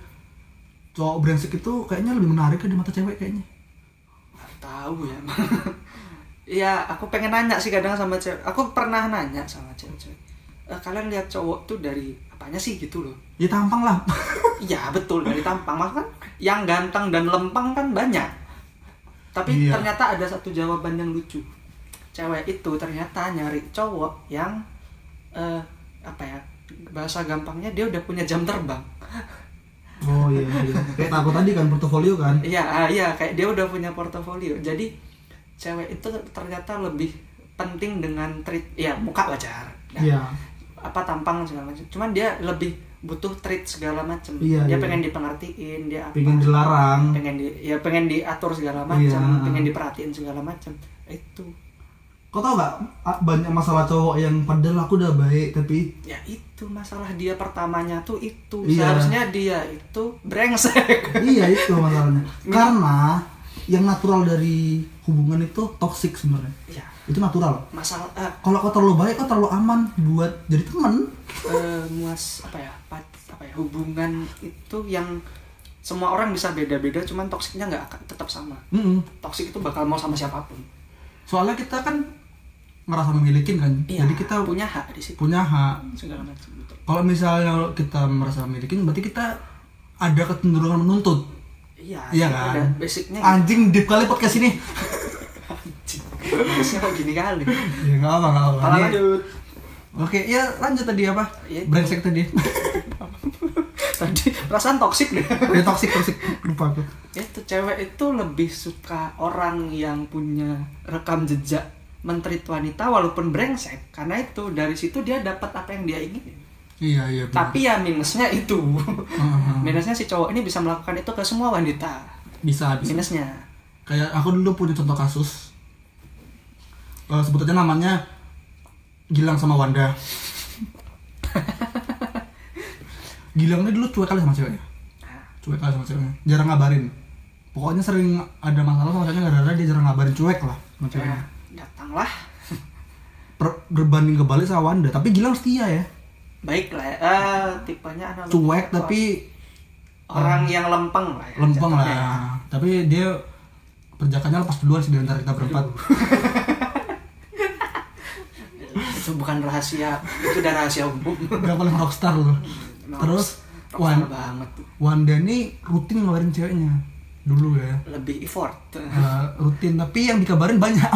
Speaker 2: cowok brengsek itu kayaknya lebih menarik ya di mata cewek kayaknya
Speaker 1: Nggak tahu ya Iya, aku pengen nanya sih kadang sama cewek. Aku pernah nanya sama cewek-cewek. "Eh, kalian lihat cowok tuh dari apanya sih gitu loh?
Speaker 2: ya tampang lah
Speaker 1: Iya betul dari tampang Mas kan yang ganteng dan lempeng kan banyak. Tapi
Speaker 2: Iya.
Speaker 1: ternyata ada satu jawaban yang lucu. Cewek itu ternyata nyari cowok yang eh apa ya? Bahasa gampangnya dia udah punya jam terbang.
Speaker 2: oh iya iya kayak aku tadi kan portofolio kan
Speaker 1: Iya, ah, iya kayak dia udah punya portofolio. Jadi cewek itu ternyata lebih penting dengan treat ya muka wajar. Nah,
Speaker 2: iya
Speaker 1: apa tampang segala macam. Cuman dia lebih butuh treat segala macam.
Speaker 2: Iya,
Speaker 1: dia
Speaker 2: iya.
Speaker 1: pengen dipengertiin, dia apa.
Speaker 2: pengen dilarang
Speaker 1: pengen di ya pengen diatur segala macam
Speaker 2: Iya.
Speaker 1: pengen diperhatiin segala macam itu
Speaker 2: kau tau nggak a- banyak masalah cowok yang padahal aku udah baik tapi
Speaker 1: ya itu masalah dia pertamanya tuh itu
Speaker 2: Iya.
Speaker 1: seharusnya dia itu brengsek
Speaker 2: iya itu masalahnya karena yang natural dari hubungan itu toxic sebenarnya
Speaker 1: ya
Speaker 2: itu natural
Speaker 1: masalah eh,
Speaker 2: kalau kau terlalu baik kau terlalu aman buat jadi temen
Speaker 1: eh, muas apa ya pat- apa ya hubungan itu yang semua orang bisa beda-beda cuman toksiknya nggak akan tetap sama
Speaker 2: Mm-mm.
Speaker 1: toksik itu bakal mau sama siapapun
Speaker 2: soalnya kita kan merasa memiliki kan
Speaker 1: Iya,
Speaker 2: jadi kita
Speaker 1: punya hak di situ
Speaker 2: punya hak
Speaker 1: segala macam gitu. betul.
Speaker 2: kalau misalnya kita merasa memiliki berarti kita ada kecenderungan menuntut
Speaker 1: iya
Speaker 2: iya
Speaker 1: itu
Speaker 2: kan
Speaker 1: ada basicnya gitu.
Speaker 2: anjing deep kali podcast ini
Speaker 1: Anjing. Harusnya kok gini kali
Speaker 2: ya nggak apa nggak apa
Speaker 1: Kalau
Speaker 2: Ini-
Speaker 1: lanjut
Speaker 2: oke ya lanjut tadi apa
Speaker 1: Iya.
Speaker 2: brengsek tadi
Speaker 1: tadi perasaan toksik deh
Speaker 2: ya toxic toxic lupa aku
Speaker 1: itu cewek itu lebih suka orang yang punya rekam jejak menteri wanita walaupun brengsek karena itu dari situ dia dapat apa yang dia ingin
Speaker 2: iya iya benar.
Speaker 1: tapi ya minusnya itu
Speaker 2: Heeh.
Speaker 1: minusnya si cowok ini bisa melakukan itu ke semua wanita
Speaker 2: bisa bisa
Speaker 1: minusnya
Speaker 2: kayak aku dulu punya contoh kasus Eh, sebut aja namanya Gilang sama Wanda Gilang ini dulu cuek kali sama ceweknya
Speaker 1: Nah,
Speaker 2: cuek kali sama ceweknya jarang ngabarin pokoknya sering ada masalah sama ceweknya gara-gara dia jarang ngabarin cuek lah sama ceweknya
Speaker 1: ya, datanglah
Speaker 2: Per- berbanding kebalik sama Wanda tapi Gilang setia ya
Speaker 1: baiklah ya. Eh, tipenya analog
Speaker 2: cuek tapi
Speaker 1: orang yang lempeng lah ya,
Speaker 2: lempeng lah
Speaker 1: jatuhnya.
Speaker 2: tapi dia perjakannya lepas duluan sih di antara kita berempat
Speaker 1: itu bukan rahasia itu udah rahasia umum
Speaker 2: gak paling rockstar loh
Speaker 1: Emang
Speaker 2: terus
Speaker 1: rockstar
Speaker 2: Wan-
Speaker 1: banget tuh.
Speaker 2: Wanda nih rutin ngabarin ceweknya dulu ya
Speaker 1: lebih effort
Speaker 2: Eh, rutin tapi yang dikabarin banyak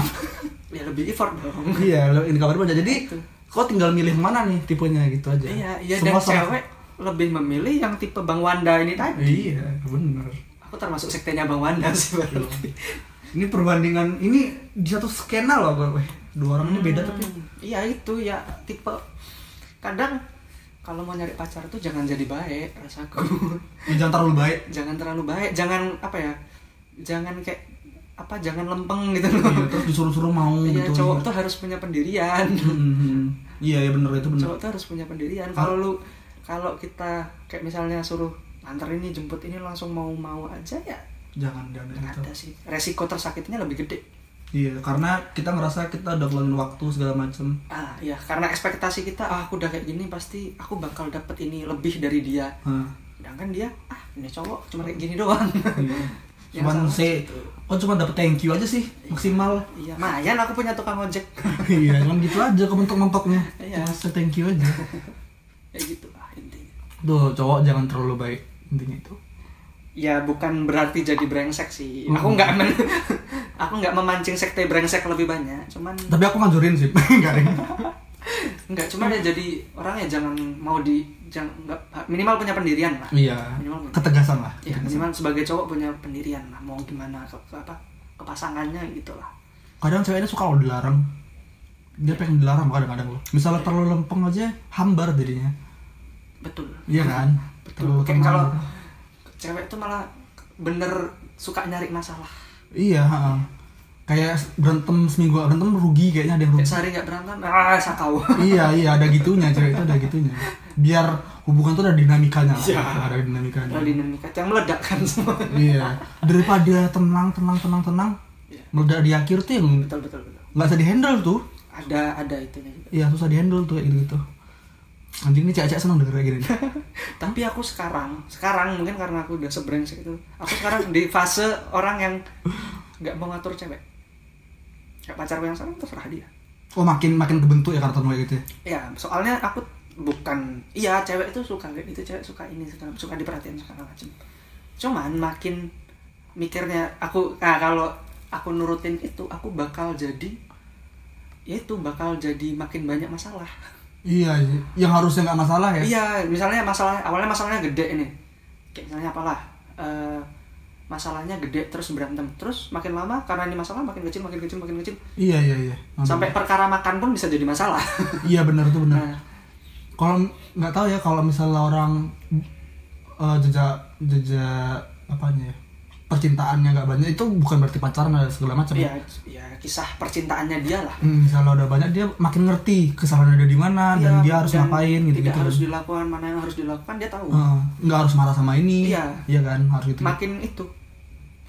Speaker 1: ya lebih effort dong
Speaker 2: iya lo- yang dikabarin banyak jadi
Speaker 1: Betul.
Speaker 2: kau tinggal milih mana nih tipenya gitu aja
Speaker 1: Iya, iya dan
Speaker 2: Semua serah-
Speaker 1: cewek lebih memilih yang tipe Bang Wanda ini tadi.
Speaker 2: iya bener
Speaker 1: Aku termasuk sektenya Bang Wanda sih berarti.
Speaker 2: ini perbandingan ini di satu skena loh gue dua orang ini beda tapi
Speaker 1: Hmm, Iya itu ya tipe kadang kalau mau nyari pacar tuh jangan jadi baik rasaku.
Speaker 2: Ya, jangan terlalu baik
Speaker 1: jangan terlalu baik, jangan apa ya? Jangan kayak apa jangan lempeng gitu
Speaker 2: Iya,
Speaker 1: loh.
Speaker 2: terus disuruh-suruh mau
Speaker 1: Iya,
Speaker 2: gitu
Speaker 1: cowok tuh harus punya pendirian.
Speaker 2: Mm-mm. iya iya bener itu bener
Speaker 1: cowok tuh harus punya pendirian kalau lu kalau kita kayak misalnya suruh antar ini jemput ini langsung mau mau aja ya
Speaker 2: jangan jangan
Speaker 1: nggak
Speaker 2: gitu
Speaker 1: ada sih resiko tersakitnya lebih gede
Speaker 2: iya karena kita ngerasa kita udah keluangin waktu segala macem
Speaker 1: ah ya karena ekspektasi kita ah aku udah kayak gini pasti aku bakal dapet ini lebih dari dia
Speaker 2: Hah.
Speaker 1: sedangkan dia ah ini cowok cuma kayak gini doang Yang
Speaker 2: Cuman
Speaker 1: salah
Speaker 2: saya,
Speaker 1: gitu.
Speaker 2: oh cuma dapet thank you aja sih maksimal.
Speaker 1: iya mayan aku punya tukang ojek
Speaker 2: iya, cuman gitu aja ke mentok-mentoknya.
Speaker 1: Iya.
Speaker 2: Cuma saya thank you aja.
Speaker 1: kayak gitu lah intinya
Speaker 2: Tuh, cowok jangan terlalu baik intinya itu.
Speaker 1: ya bukan berarti jadi brengsek sih
Speaker 2: Hmm.
Speaker 1: aku nggak men aku nggak memancing sekte brengsek lebih banyak cuman
Speaker 2: Tapi aku ngajurin sih, enggak deh.
Speaker 1: nggak cuman ya jadi orang ya jangan mau di jangan nggak minimal gitu. punya pendirian lah
Speaker 2: Iya,
Speaker 1: Minimal-
Speaker 2: ketegasan lah.
Speaker 1: ya minimal sebagai cowok punya pendirian lah mau gimana ke, ke apa ke pasangannya gitu lah
Speaker 2: Kadang ceweknya suka kalau dilarang. Dia pengen dilarang kadang-kadang loh. Misalnya terlalu lempeng aja, hambar jadinya.
Speaker 1: betul
Speaker 2: Iya kan?
Speaker 1: betul kayak
Speaker 2: tenang.
Speaker 1: kalau cewek tuh malah bener suka nyari masalah
Speaker 2: Iya, ha-ha. Kayak berantem seminggu nggak berantem rugi kayaknya ada yang
Speaker 1: kayak
Speaker 2: rugi.
Speaker 1: sehari nggak berantem ah sakau
Speaker 2: Hmm. iya, iya ada gitunya cewek itu ada gitunya. Biar hubungan tuh ada dinamikanya. lah.
Speaker 1: Iya.
Speaker 2: Ada dinamikanya.
Speaker 1: lalu dinamika yang meledakkan semua
Speaker 2: Iya. Daripada tenang, tenang, tenang, tenang.
Speaker 1: Iya.
Speaker 2: Meledak di akhir tuh yang
Speaker 1: betul betul betul
Speaker 2: nggak bisa dihandle tuh.
Speaker 1: ada ada itunya juga
Speaker 2: Iya, susah dihandle tuh kayak gitu-gitu. Anjing ini cewek-cewek seneng denger kayak gini.
Speaker 1: tapi aku sekarang sekarang mungkin karena aku udah sebrengsek itu aku sekarang di fase orang yang nggak mau ngatur cewek kayak pacarku yang sekarang terserah dia
Speaker 2: Oh makin makin kebentuk ya karton kayak gitu ya.
Speaker 1: ya soalnya aku bukan iya cewek itu suka kayak gitu cewek suka ini suka, suka diperhatiin segala macam cuman makin mikirnya aku nah, kalau aku nurutin itu aku bakal jadi ya itu bakal jadi makin banyak masalah
Speaker 2: Iya, iya. yang harusnya nggak masalah ya.
Speaker 1: iya misalnya masalah awalnya masalahnya gede ini kayak misalnya apalah eh, masalahnya gede terus berantem terus makin lama karena ini masalah makin kecil makin kecil makin kecil
Speaker 2: Iya, iya, iya.
Speaker 1: sampai perkara makan pun bisa jadi masalah
Speaker 2: Iya benar tuh benar.
Speaker 1: Nah.
Speaker 2: Kalau nggak tahu ya kalau misalnya orang eh, jejak jejak apanya ya percintaannya nggak banyak itu bukan berarti pacaran ada segala macam.
Speaker 1: ya, ya kisah percintaannya dia lah
Speaker 2: Hmm, misalnya udah banyak dia makin ngerti kesalahan ada di mana
Speaker 1: Iya,
Speaker 2: dan dia harus ngapain Oh, gitu
Speaker 1: tidak
Speaker 2: gitu.
Speaker 1: harus dilakukan mana yang harus dilakukan dia tahu
Speaker 2: nggak harus marah sama ini.
Speaker 1: Iya.
Speaker 2: kan harus gitu.
Speaker 1: makin itu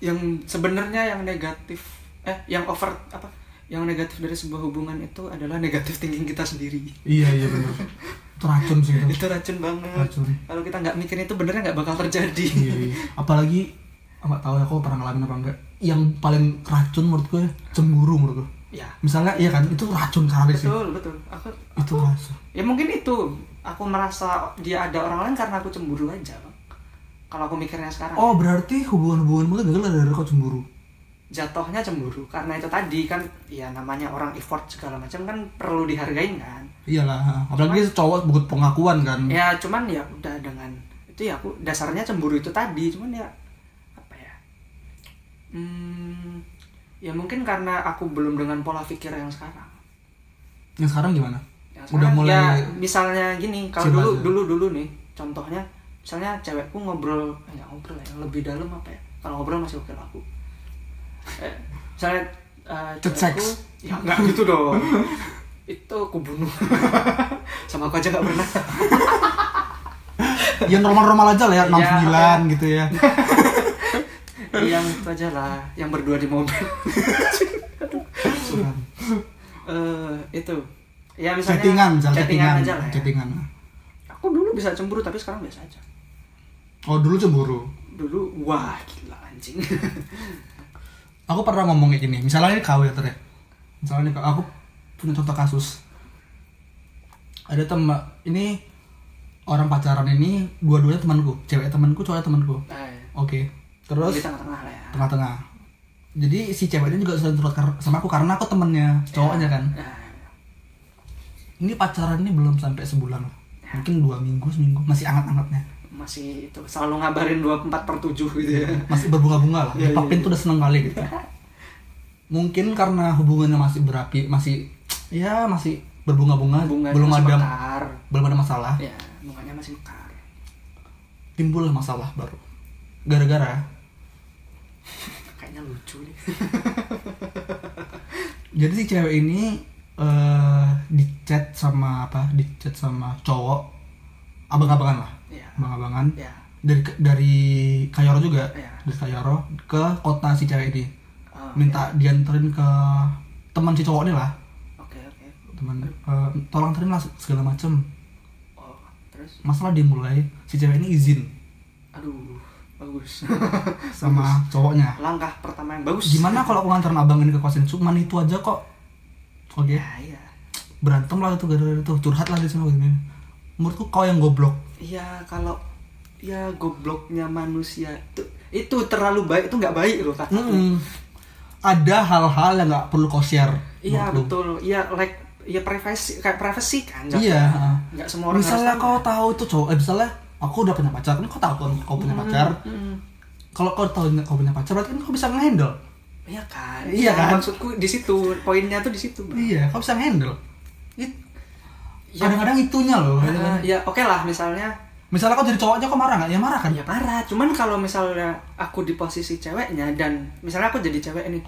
Speaker 1: yang sebenarnya yang negatif eh yang over apa yang negatif dari sebuah hubungan itu adalah negatif thinking kita sendiri
Speaker 2: Iya iya benar. Itu racun sih itu.
Speaker 1: itu racun banget
Speaker 2: Hmm. Racun.
Speaker 1: kalau kita nggak mikirin itu benernya nggak bakal terjadi
Speaker 2: iya, iya. Apalagi nggak tahu ya aku pernah ngalamin apa enggak. Yang paling racun menurut gue cemburu menurut gue.
Speaker 1: ya
Speaker 2: Misalnya iya kan itu racun kali sih.
Speaker 1: betul betul aku
Speaker 2: Itu racun.
Speaker 1: ya mungkin itu aku merasa dia ada orang lain karena aku cemburu aja Bang. kalau aku mikirnya sekarang
Speaker 2: Oh berarti hubungan-hubunganmu tuh gagal dari kau cemburu
Speaker 1: jatuhnya cemburu karena itu tadi kan ya namanya orang effort segala macam kan perlu dihargain kan
Speaker 2: Iyalah, Iya apalagi cowok butuh pengakuan kan
Speaker 1: ya cuman ya udah dengan itu ya aku dasarnya cemburu itu tadi cuman ya apa ya hmm, ya mungkin karena aku belum dengan pola pikir yang sekarang
Speaker 2: Yang sekarang gimana?
Speaker 1: yang
Speaker 2: Udah
Speaker 1: sekarang
Speaker 2: mulai
Speaker 1: ya misalnya gini kalau
Speaker 2: Coba
Speaker 1: dulu
Speaker 2: aja.
Speaker 1: dulu dulu nih contohnya misalnya cewekku ngobrol eh, nggak ngobrol ya, yang lebih dalam apa ya kalau ngobrol masih oke lah aku eh, misalnya eh,
Speaker 2: Cut
Speaker 1: cewekku
Speaker 2: sex.
Speaker 1: ya nggak gitu dong itu aku bunuh sama aku aja nggak pernah
Speaker 2: yang ya, normal-normal aja lah ya,
Speaker 1: Iya.
Speaker 2: 69 gitu ya
Speaker 1: yang Iya, itu aja lah yang berdua di mobil
Speaker 2: Suram.
Speaker 1: Eh, itu ya misalnya
Speaker 2: Chattingan, misalnya
Speaker 1: chattingan
Speaker 2: chattingan
Speaker 1: aja lah ya.
Speaker 2: Chattingan
Speaker 1: aku dulu bisa cemburu tapi sekarang biasa aja
Speaker 2: Oh dulu cemburu
Speaker 1: dulu wah gila anjing
Speaker 2: Aku pernah ngomong kayak gini, misalnya ini kau ya Ter, ya. Misalnya ini kau, aku punya contoh kasus Ada teman, ini orang pacaran ini dua-duanya temanku Cewek temanku, cowok temanku
Speaker 1: nah,
Speaker 2: Oke, terus
Speaker 1: di tengah-tengah lah ya
Speaker 2: tengah-tengah jadi si ceweknya juga sering curhat kar- sama aku karena aku temennya cowoknya kan
Speaker 1: Nah,
Speaker 2: ini pacaran ini belum sampai sebulan loh. mungkin dua minggu seminggu masih anget-angetnya
Speaker 1: masih itu selalu ngabarin 24 per 7 gitu ya
Speaker 2: masih berbunga-bunga lah
Speaker 1: Iya, iya,
Speaker 2: Papin
Speaker 1: iya.
Speaker 2: tuh udah seneng kali gitu mungkin karena hubungannya masih berapi masih ya masih berbunga-bunga
Speaker 1: Bunganya
Speaker 2: belum
Speaker 1: masih
Speaker 2: ada
Speaker 1: mekar
Speaker 2: belum ada masalah
Speaker 1: ya mukanya masih mekar
Speaker 2: timbul masalah baru gara-gara
Speaker 1: kayaknya lucu nih
Speaker 2: jadi si cewek ini eh di chat sama apa di chat sama cowok abang-abangan lah
Speaker 1: ya
Speaker 2: abang-abangan
Speaker 1: ya
Speaker 2: dari dari Kayoro juga
Speaker 1: Iya.
Speaker 2: dari Kayoro ke kota si cewek ini
Speaker 1: Oh,
Speaker 2: minta dianterin ke teman si cowok ini lah
Speaker 1: oke oke
Speaker 2: teman eh, tolong anterin lah segala macem
Speaker 1: oh terus
Speaker 2: masalah dimulai si cewek ini izin
Speaker 1: aduh bagus
Speaker 2: sama cowoknya
Speaker 1: langkah pertama yang bagus
Speaker 2: gimana kalau aku nganterin abang ini ke kosan cuman itu aja kok oke
Speaker 1: ya iya
Speaker 2: berantem lah itu gara-gara itu curhat lah di sana gini menurutku kau yang goblok
Speaker 1: iya kalau ya gobloknya manusia itu itu terlalu baik itu nggak baik loh kata
Speaker 2: Mm-mm. ada hal-hal yang nggak perlu kau share
Speaker 1: iya
Speaker 2: menurutku.
Speaker 1: betul iya like ya privasi kayak privasi kan jatuhnya.
Speaker 2: iya
Speaker 1: nggak semua orang
Speaker 2: misalnya
Speaker 1: harus
Speaker 2: kau tahu itu cowok eh, misalnya aku udah punya pacar kan kau tahu kan kau punya pacar
Speaker 1: tahu. Mm,
Speaker 2: kalau kau tahu kau punya pacar berarti kan kau bisa ngehandle
Speaker 1: iya kan
Speaker 2: Iya kan?
Speaker 1: maksudku di situ poinnya tuh di situ Bang.
Speaker 2: iya kau bisa ngehandle It-
Speaker 1: Ya.
Speaker 2: kadang-kadang itunya loh kan?
Speaker 1: Ah, ya oke lah misalnya
Speaker 2: misalnya kau jadi cowoknya kau marah nggak ya marah kan
Speaker 1: ya parah cuman kalau misalnya aku di posisi ceweknya dan misalnya aku jadi cewek nih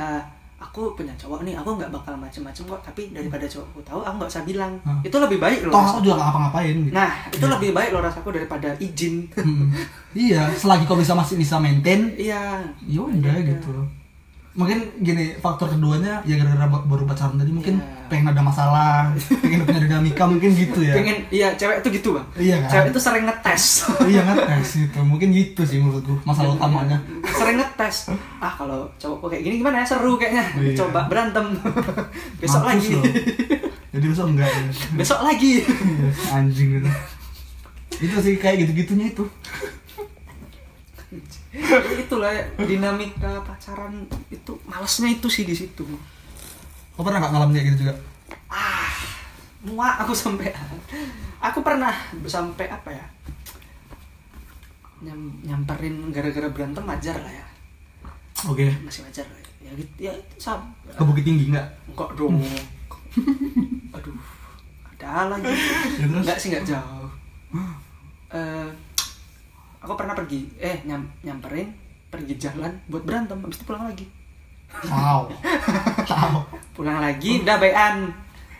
Speaker 1: eh, aku punya cowok nih aku nggak bakal macem-macem kok tapi daripada cowokku tahu aku nggak usah bilang
Speaker 2: Hmm.
Speaker 1: itu lebih baik loh
Speaker 2: toh
Speaker 1: ras-
Speaker 2: aku juga nggak apa-ngapain gitu
Speaker 1: nah itu lebih baik loh rasaku daripada izin
Speaker 2: Mm. iya selagi kau bisa masih bisa maintain
Speaker 1: iya
Speaker 2: ya udah gitu mungkin gini faktor keduanya ya gara-gara ba- baru pacaran tadi mungkin
Speaker 1: Iya.
Speaker 2: pengen ada masalah pengen punya dinamika mungkin gitu ya
Speaker 1: pengen iya cewek itu gitu bang
Speaker 2: Iya kan?
Speaker 1: cewek itu sering ngetes
Speaker 2: iya kan nah, gitu mungkin gitu sih menurutku masalah utamanya
Speaker 1: sering ngetes ah kalau cowokku kayak gini gimana ya seru kayaknya
Speaker 2: Iya.
Speaker 1: coba berantem besok
Speaker 2: Mampus
Speaker 1: lagi
Speaker 2: loh. jadi besok enggak ya.
Speaker 1: besok lagi
Speaker 2: Iya, anjing gitu itu sih kayak gitu-gitunya itu
Speaker 1: itulah ya, dinamika pacaran itu malesnya itu sih di situ
Speaker 2: kau pernah nggak ngalamin kayak gitu juga
Speaker 1: ah muak aku sampai aku pernah sampai apa ya nyam- nyamperin gara-gara berantem wajar lah ya
Speaker 2: oke
Speaker 1: masih wajar lah ya, ya gitu ya itu sam
Speaker 2: ke bukit tinggi nggak
Speaker 1: enggak dong aduh ada lagi
Speaker 2: Ya, terus?
Speaker 1: enggak sih enggak jauh Eh, aku pernah pergi eh nyam, nyamperin pergi jalan buat berantem habis itu pulang lagi
Speaker 2: wow wow
Speaker 1: pulang
Speaker 2: Oh.
Speaker 1: lagi udah bayan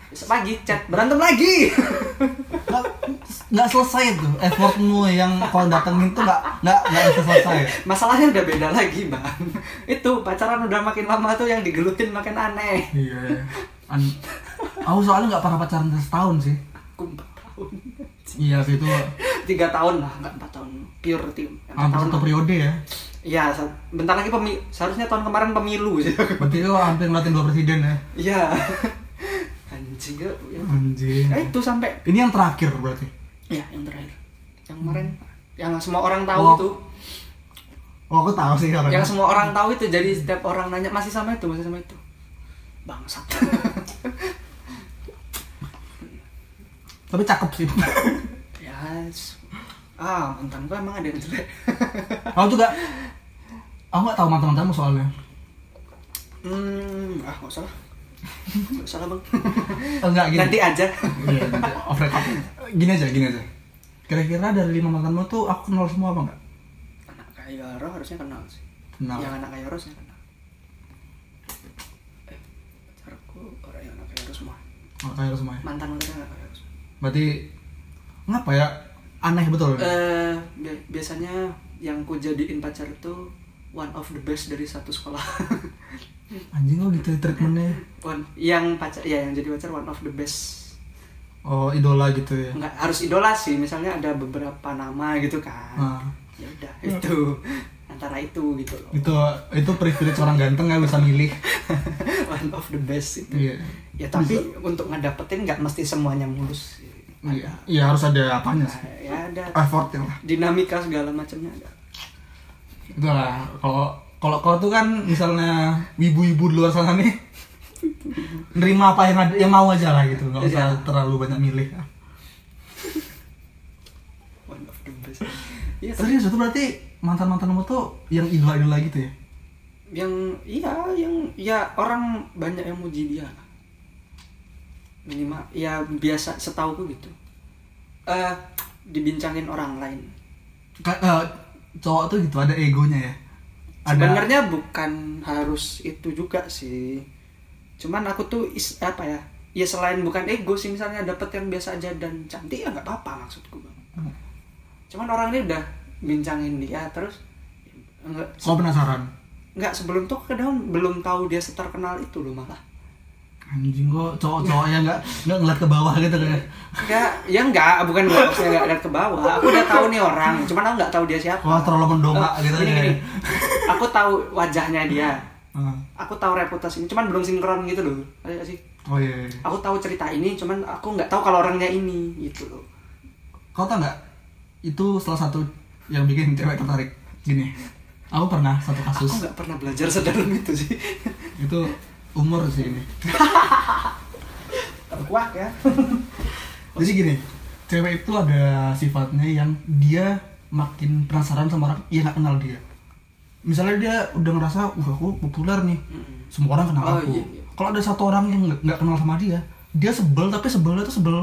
Speaker 1: besok pagi chat berantem lagi
Speaker 2: nggak nggak selesai tuh effortmu yang kau datengin tuh nggak nggak nggak bisa selesai
Speaker 1: masalahnya udah beda lagi bang itu pacaran udah makin lama tuh yang digelutin makin aneh
Speaker 2: iya An- aku soalnya nggak pernah pacaran setahun sih
Speaker 1: aku empat tahun
Speaker 2: iya sih itu
Speaker 1: tiga tahun lah nggak empat tahun pure tim empat
Speaker 2: hampir
Speaker 1: tahun
Speaker 2: satu periode ya
Speaker 1: ya se- bentar lagi pemi seharusnya tahun kemarin pemilu sih
Speaker 2: berarti itu hampir ngeliatin dua presiden ya
Speaker 1: ya anjing ya ya.
Speaker 2: anjing
Speaker 1: Ya, itu sampai
Speaker 2: ini yang terakhir berarti
Speaker 1: ya yang terakhir yang kemarin yang semua orang tahu
Speaker 2: Wow.
Speaker 1: itu
Speaker 2: oh aku tahu sih
Speaker 1: yang
Speaker 2: orangnya
Speaker 1: semua orang tahu itu jadi setiap orang nanya masih sama itu masih sama itu bangsat
Speaker 2: tapi cakep sih
Speaker 1: ya s- ah mantan gua emang ada yang jelek
Speaker 2: aku juga aku nggak tahu mantan mantanmu soalnya
Speaker 1: hmm ah nggak usah lah nggak usah lah bang
Speaker 2: enggak Nah, gini
Speaker 1: nanti aja
Speaker 2: Iya, nanti off record gini aja gini aja kira-kira dari lima mantanmu tuh aku kenal semua apa nggak
Speaker 1: anak kayoro harusnya kenal sih
Speaker 2: kenal
Speaker 1: yang anak ya? kayoro harusnya kenal eh pacarku orang yang anak kayoro semua
Speaker 2: Oh, kayak semua ya.
Speaker 1: mantan mantan anak kayoro semua
Speaker 2: Berarti ngapa ya? Aneh betul.
Speaker 1: eh bi- biasanya yang ku jadiin pacar itu one of the best dari satu sekolah
Speaker 2: Anjing lo gitu ya treatmentnya.
Speaker 1: one yang pacar ya yang jadi pacar one of the best
Speaker 2: Oh, idola gitu ya.
Speaker 1: nggak harus idola sih misalnya ada beberapa nama gitu kan
Speaker 2: Nah,
Speaker 1: ya udah itu antara itu gitu loh
Speaker 2: itu itu privilege orang ganteng ya bisa milih.
Speaker 1: one of the best itu
Speaker 2: Iya.
Speaker 1: ya tapi untuk ngedapetin nggak mesti semuanya mulus
Speaker 2: Iya, Iya, harus ada apanya sih.
Speaker 1: Nah, ya ada
Speaker 2: Effortnya lah.
Speaker 1: dinamika segala macamnya ada
Speaker 2: Itu lah. Kalau kalau kau tuh kan misalnya ibu-ibu di luar sana nih nerima apa yang ada yang mau aja lah gitu nggak usah
Speaker 1: Iya.
Speaker 2: terlalu banyak milih
Speaker 1: one of the best iya sih.
Speaker 2: serius itu berarti mantan mantanmu tuh yang idola idola gitu ya
Speaker 1: yang iya yang ya orang banyak yang muji dia lah. minimal ya biasa setauku gitu eh dibincangin orang lain
Speaker 2: Ka- eh, cowok tuh gitu ada egonya ya ada
Speaker 1: sebenarnya bukan harus itu juga sih cuman aku tuh is, apa ya ya selain bukan ego sih misalnya dapet yang biasa aja dan cantik ya nggak apa-apa maksudku bang
Speaker 2: Hmm.
Speaker 1: cuman orang ini udah bincangin dia terus enggak
Speaker 2: Oh. Kau penasaran?
Speaker 1: nggak sebelum tuh kadang belum tahu dia seterkenal itu loh malah
Speaker 2: anjing kok cowok-cowok yang nggak nggak ngeliat ke bawah gitu kan
Speaker 1: Enggak, ya enggak, bukan gue maksudnya enggak lihat ke bawah. Aku udah tahu nih orang, cuman aku enggak tahu dia siapa.
Speaker 2: wah terlalu mendongak
Speaker 1: Eh,
Speaker 2: gitu
Speaker 1: gini,
Speaker 2: kan
Speaker 1: gini. Aku tahu wajahnya dia.
Speaker 2: Ah.
Speaker 1: Aku tahu reputasinya, cuman belum sinkron gitu loh. Ada nggak sih?
Speaker 2: oh iya, iya.
Speaker 1: Aku tahu cerita ini, cuman aku nggak tahu kalau orangnya ini gitu loh.
Speaker 2: kau tau nggak itu salah satu yang bikin cewek tertarik gini aku pernah satu
Speaker 1: Aku
Speaker 2: kasus
Speaker 1: nggak pernah belajar sedalam itu sih.
Speaker 2: itu umur sih ini
Speaker 1: Terkuak ya.
Speaker 2: jadi gini cewek itu ada sifatnya yang dia makin penasaran sama orang yang nggak kenal dia misalnya dia udah ngerasa wah aku populer nih semua orang kenal
Speaker 1: Oh,
Speaker 2: aku
Speaker 1: iya, iya.
Speaker 2: kalau ada satu orang yang nggak- nggak kenal sama dia dia sebel tapi sebelnya tuh sebel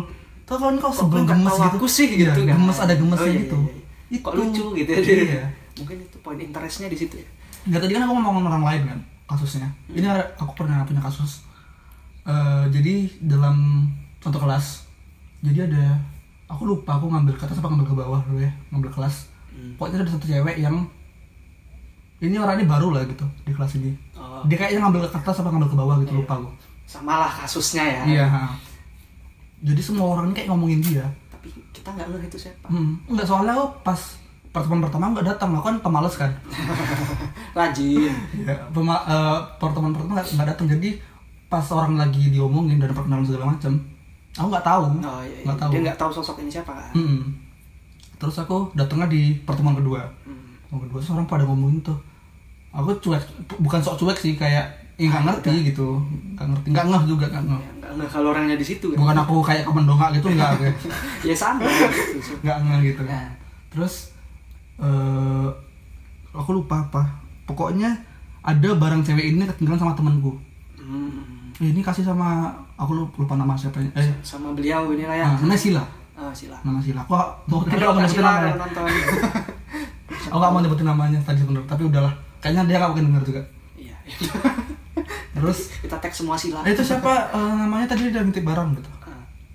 Speaker 2: tau kan kau
Speaker 1: Kok
Speaker 2: sebel
Speaker 1: lu nggak
Speaker 2: gemes
Speaker 1: tahu
Speaker 2: gitu
Speaker 1: aku sih
Speaker 2: Iya,
Speaker 1: gitu kan?
Speaker 2: gemes ada gemesnya
Speaker 1: Oh, iya,
Speaker 2: gitu
Speaker 1: iya, iya. Kok lucu gitu ya dia.
Speaker 2: iya
Speaker 1: Mungkin itu poin interestnya di situ ya.
Speaker 2: nggak tadi kan aku ngomongin orang lain kan kasusnya
Speaker 1: Hmm.
Speaker 2: ini ada- aku pernah punya kasus Eh, jadi dalam satu kelas jadi ada aku lupa aku ngambil ke atas apa ngambil ke bawah dulu ya ngambil kelas
Speaker 1: Hmm.
Speaker 2: pokoknya ada satu cewek yang ini orang ini baru lah gitu di kelas ini
Speaker 1: Oh.
Speaker 2: dia kayaknya ngambil ke atas apa ngambil ke bawah gitu
Speaker 1: Iya.
Speaker 2: lupa aku
Speaker 1: Samalah kasusnya ya.
Speaker 2: iya ha. jadi semua orang ini kayak ngomongin dia
Speaker 1: Tapi kita nggak ngeh itu siapa.
Speaker 2: hmm. nggak soalnya aku pas pertemuan pertama nggak datang aku kan pemalas kan
Speaker 1: Rajin.
Speaker 2: ya pema, eh, pertemuan pertama nggak nggak datang jadi pas orang lagi diomongin dan perkenalan segala macam aku nggak tahu
Speaker 1: Oh, iya, iya.
Speaker 2: nggak tahu Hmm.
Speaker 1: Dia nggak tahu sosok ini siapa kan.
Speaker 2: Mm-mm. terus aku datangnya di pertemuan kedua
Speaker 1: Hmm.
Speaker 2: pertemuan kedua terus orang pada ngomongin tuh aku cuek bukan sok cuek sih kayak ya
Speaker 1: Ah,
Speaker 2: nggak ngerti gitu nggak ngerti nggak ngeh juga nggak ngeh
Speaker 1: Ya, nggak ngeh kalau orangnya di situ kan.
Speaker 2: bukan aku kayak kemendongak gitu nggak kayak
Speaker 1: ya sama gitu.
Speaker 2: nggak ngeh gitu kan terus eh aku lupa apa pokoknya ada barang cewek ini ketinggalan sama temanku
Speaker 1: Hmm.
Speaker 2: Eh, ini kasih sama aku lu- lupa nama siapa ya. Eh,
Speaker 1: sama beliau ini lah ya
Speaker 2: nah, namanya Sila.
Speaker 1: Ah, sila
Speaker 2: Nama Sila. Aku nggak-
Speaker 1: Aduh,
Speaker 2: mau tadi aku nggak
Speaker 1: Kak
Speaker 2: nyebutin
Speaker 1: Sila
Speaker 2: namanya.
Speaker 1: kalau nonton
Speaker 2: Aku nggak mau nyebutin namanya tadi sebenarnya, tapi udahlah. Kayaknya dia nggak mungkin denger juga.
Speaker 1: iya
Speaker 2: Terus
Speaker 1: kita tag semua sila
Speaker 2: eh, itu siapa eh, namanya tadi dia ngintip barang gitu.
Speaker 1: Ah,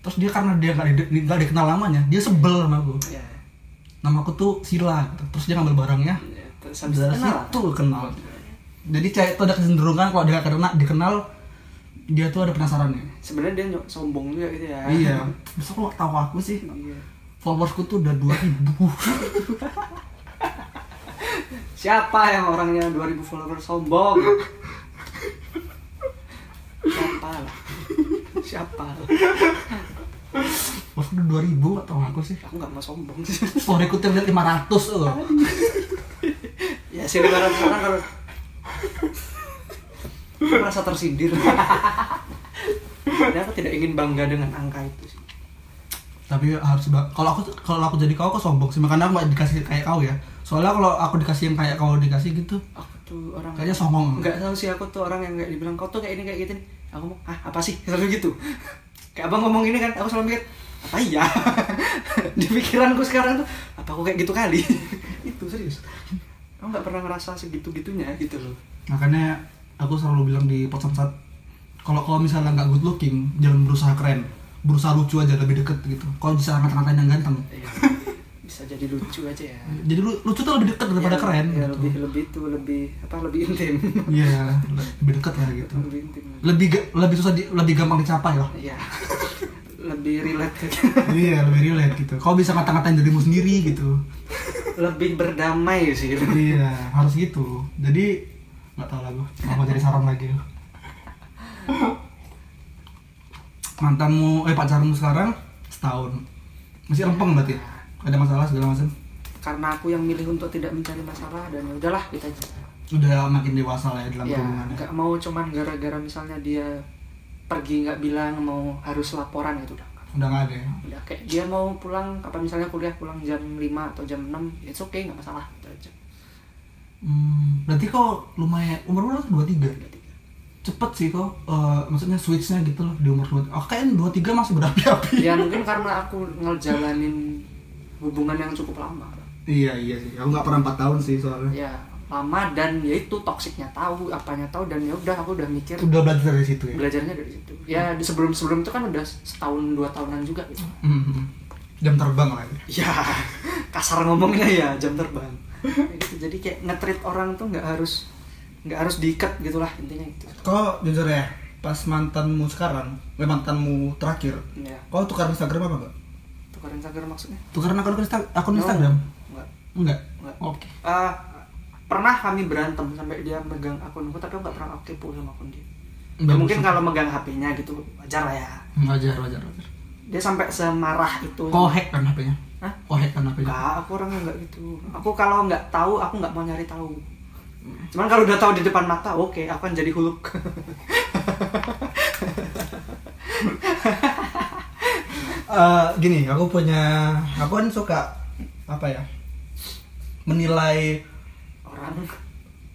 Speaker 2: Terus dia karena dia nggak di- nggak dikenal namanya, dia sebel sama aku.
Speaker 1: iya.
Speaker 2: Nama aku tuh Sila. Gitu. Terus dia ngambil barangnya.
Speaker 1: Iya, terus habis
Speaker 2: Dari
Speaker 1: itu kenal
Speaker 2: situ kenal. Jadi cewek itu ada kecenderungan kalau dia karena dikenal dia tuh ada penasarannya.
Speaker 1: sebenarnya dia nyok- sombong juga gitu ya
Speaker 2: Iya. Besok lo tahu aku sih.
Speaker 1: Iya.
Speaker 2: followersku tuh udah 2000
Speaker 1: siapa yang orangnya 2000 follower sombong siapa lah siapa lah
Speaker 2: Followersku udah 2000 atau aku sih
Speaker 1: aku nggak mau sombong sih
Speaker 2: Storyku tuh udah 500 loh
Speaker 1: ya sih lebaran sekarang kalau Aku merasa tersindir dan aku tidak ingin bangga dengan angka itu sih
Speaker 2: Tapi harus ba- kalau aku kalau aku jadi kau aku sombong sih Makanya aku gak dikasih kayak kau ya Soalnya kalau aku dikasih yang kayak kau dikasih gitu
Speaker 1: aku tuh orang
Speaker 2: Kayaknya sombong
Speaker 1: nggak tahu sih aku tuh orang yang nggak dibilang kau tuh kayak ini kayak gitu nih aku mau ah apa sih selalu gitu kayak abang ngomong ini kan aku selalu mikir apa iya di pikiranku sekarang tuh apa aku kayak gitu kali itu serius aku nggak pernah ngerasa segitu gitunya gitu loh
Speaker 2: Makanya aku selalu bilang di pot saat kalau kau misalnya nggak good looking Jangan berusaha keren Berusaha lucu aja lebih deket gitu Kau bisa ngata-ngatain yang ganteng
Speaker 1: Iya. bisa jadi lucu aja ya
Speaker 2: Jadi lu- lucu tuh lebih deket daripada
Speaker 1: Ya,
Speaker 2: keren
Speaker 1: ya,
Speaker 2: gitu.
Speaker 1: lebih lebih itu lebih apa lebih intim
Speaker 2: Iya lebih deket lah gitu
Speaker 1: lebih intim
Speaker 2: lebih ga- lebih susah di- lebih gampang dicapai lah
Speaker 1: ya lebih relate
Speaker 2: iya lebih relate gitu kau bisa ngata-ngatain dirimu sendiri gitu
Speaker 1: lebih berdamai sih
Speaker 2: iya harus gitu jadi nggak tahu lah gue nggak mau jadi saran lagi mantanmu eh pacarmu sekarang setahun masih rempeng berarti ya? ada masalah segala macam
Speaker 1: karena aku yang milih untuk tidak mencari masalah dan ya udahlah kita
Speaker 2: udah makin dewasa lah ya dalam
Speaker 1: ya
Speaker 2: hubungannya
Speaker 1: nggak mau cuman gara-gara misalnya dia pergi nggak bilang mau harus laporan itu udah
Speaker 2: udah nggak ada ya
Speaker 1: udah kayak dia mau pulang apa misalnya kuliah pulang jam 5 atau jam 6 it's okay nggak masalah gitu aja
Speaker 2: hmm, berarti kau lumayan umur berapa dua tiga
Speaker 1: Udah tiga.
Speaker 2: cepet sih kok eh, maksudnya switchnya gitu loh di umur dua oh, kayaknya dua tiga masih berapi-api
Speaker 1: ya mungkin karena aku ngejalanin hubungan yang cukup lama
Speaker 2: iya iya sih aku nggak pernah empat tahun sih
Speaker 1: ya
Speaker 2: soalnya
Speaker 1: lama dan ya itu toksiknya tahu apanya tahu dan ya udah aku udah mikir
Speaker 2: udah belajar dari situ ya
Speaker 1: belajarnya dari situ ya di sebelum sebelum itu kan udah setahun dua tahunan juga gitu
Speaker 2: Mhm. jam terbang lah ya.
Speaker 1: ya kasar ngomongnya ya jam terbang Gitu, jadi kayak ngetrit orang tuh nggak harus nggak harus diikat gitulah intinya gitu. itu
Speaker 2: kok jujur ya pas mantanmu sekarang, eh, mantanmu terakhir,
Speaker 1: Iya.
Speaker 2: kau tukar Instagram apa enggak?
Speaker 1: Tukar Instagram maksudnya?
Speaker 2: Tukaran akun, Insta- akun Instagram?
Speaker 1: Enggak.
Speaker 2: Enggak.
Speaker 1: Enggak.
Speaker 2: Oke.
Speaker 1: Eh, pernah kami berantem sampai dia megang akunku tapi aku nggak pernah aku kepo sama akun dia.
Speaker 2: Nggak
Speaker 1: mungkin
Speaker 2: usah.
Speaker 1: kalau megang HP-nya gitu wajar lah ya.
Speaker 2: Wajar, wajar, wajar.
Speaker 1: Dia sampai semarah itu.
Speaker 2: Kau hack kan HP-nya?
Speaker 1: Hah?
Speaker 2: Kau hack kan HP-nya?
Speaker 1: Enggak, aku orangnya enggak gitu. Aku kalau nggak tahu, aku nggak mau nyari tahu. Cuman kalau udah tahu di depan mata, oke, aku akan jadi huluk.
Speaker 2: Eh, gini, aku punya, aku kan suka apa ya? Menilai
Speaker 1: Orang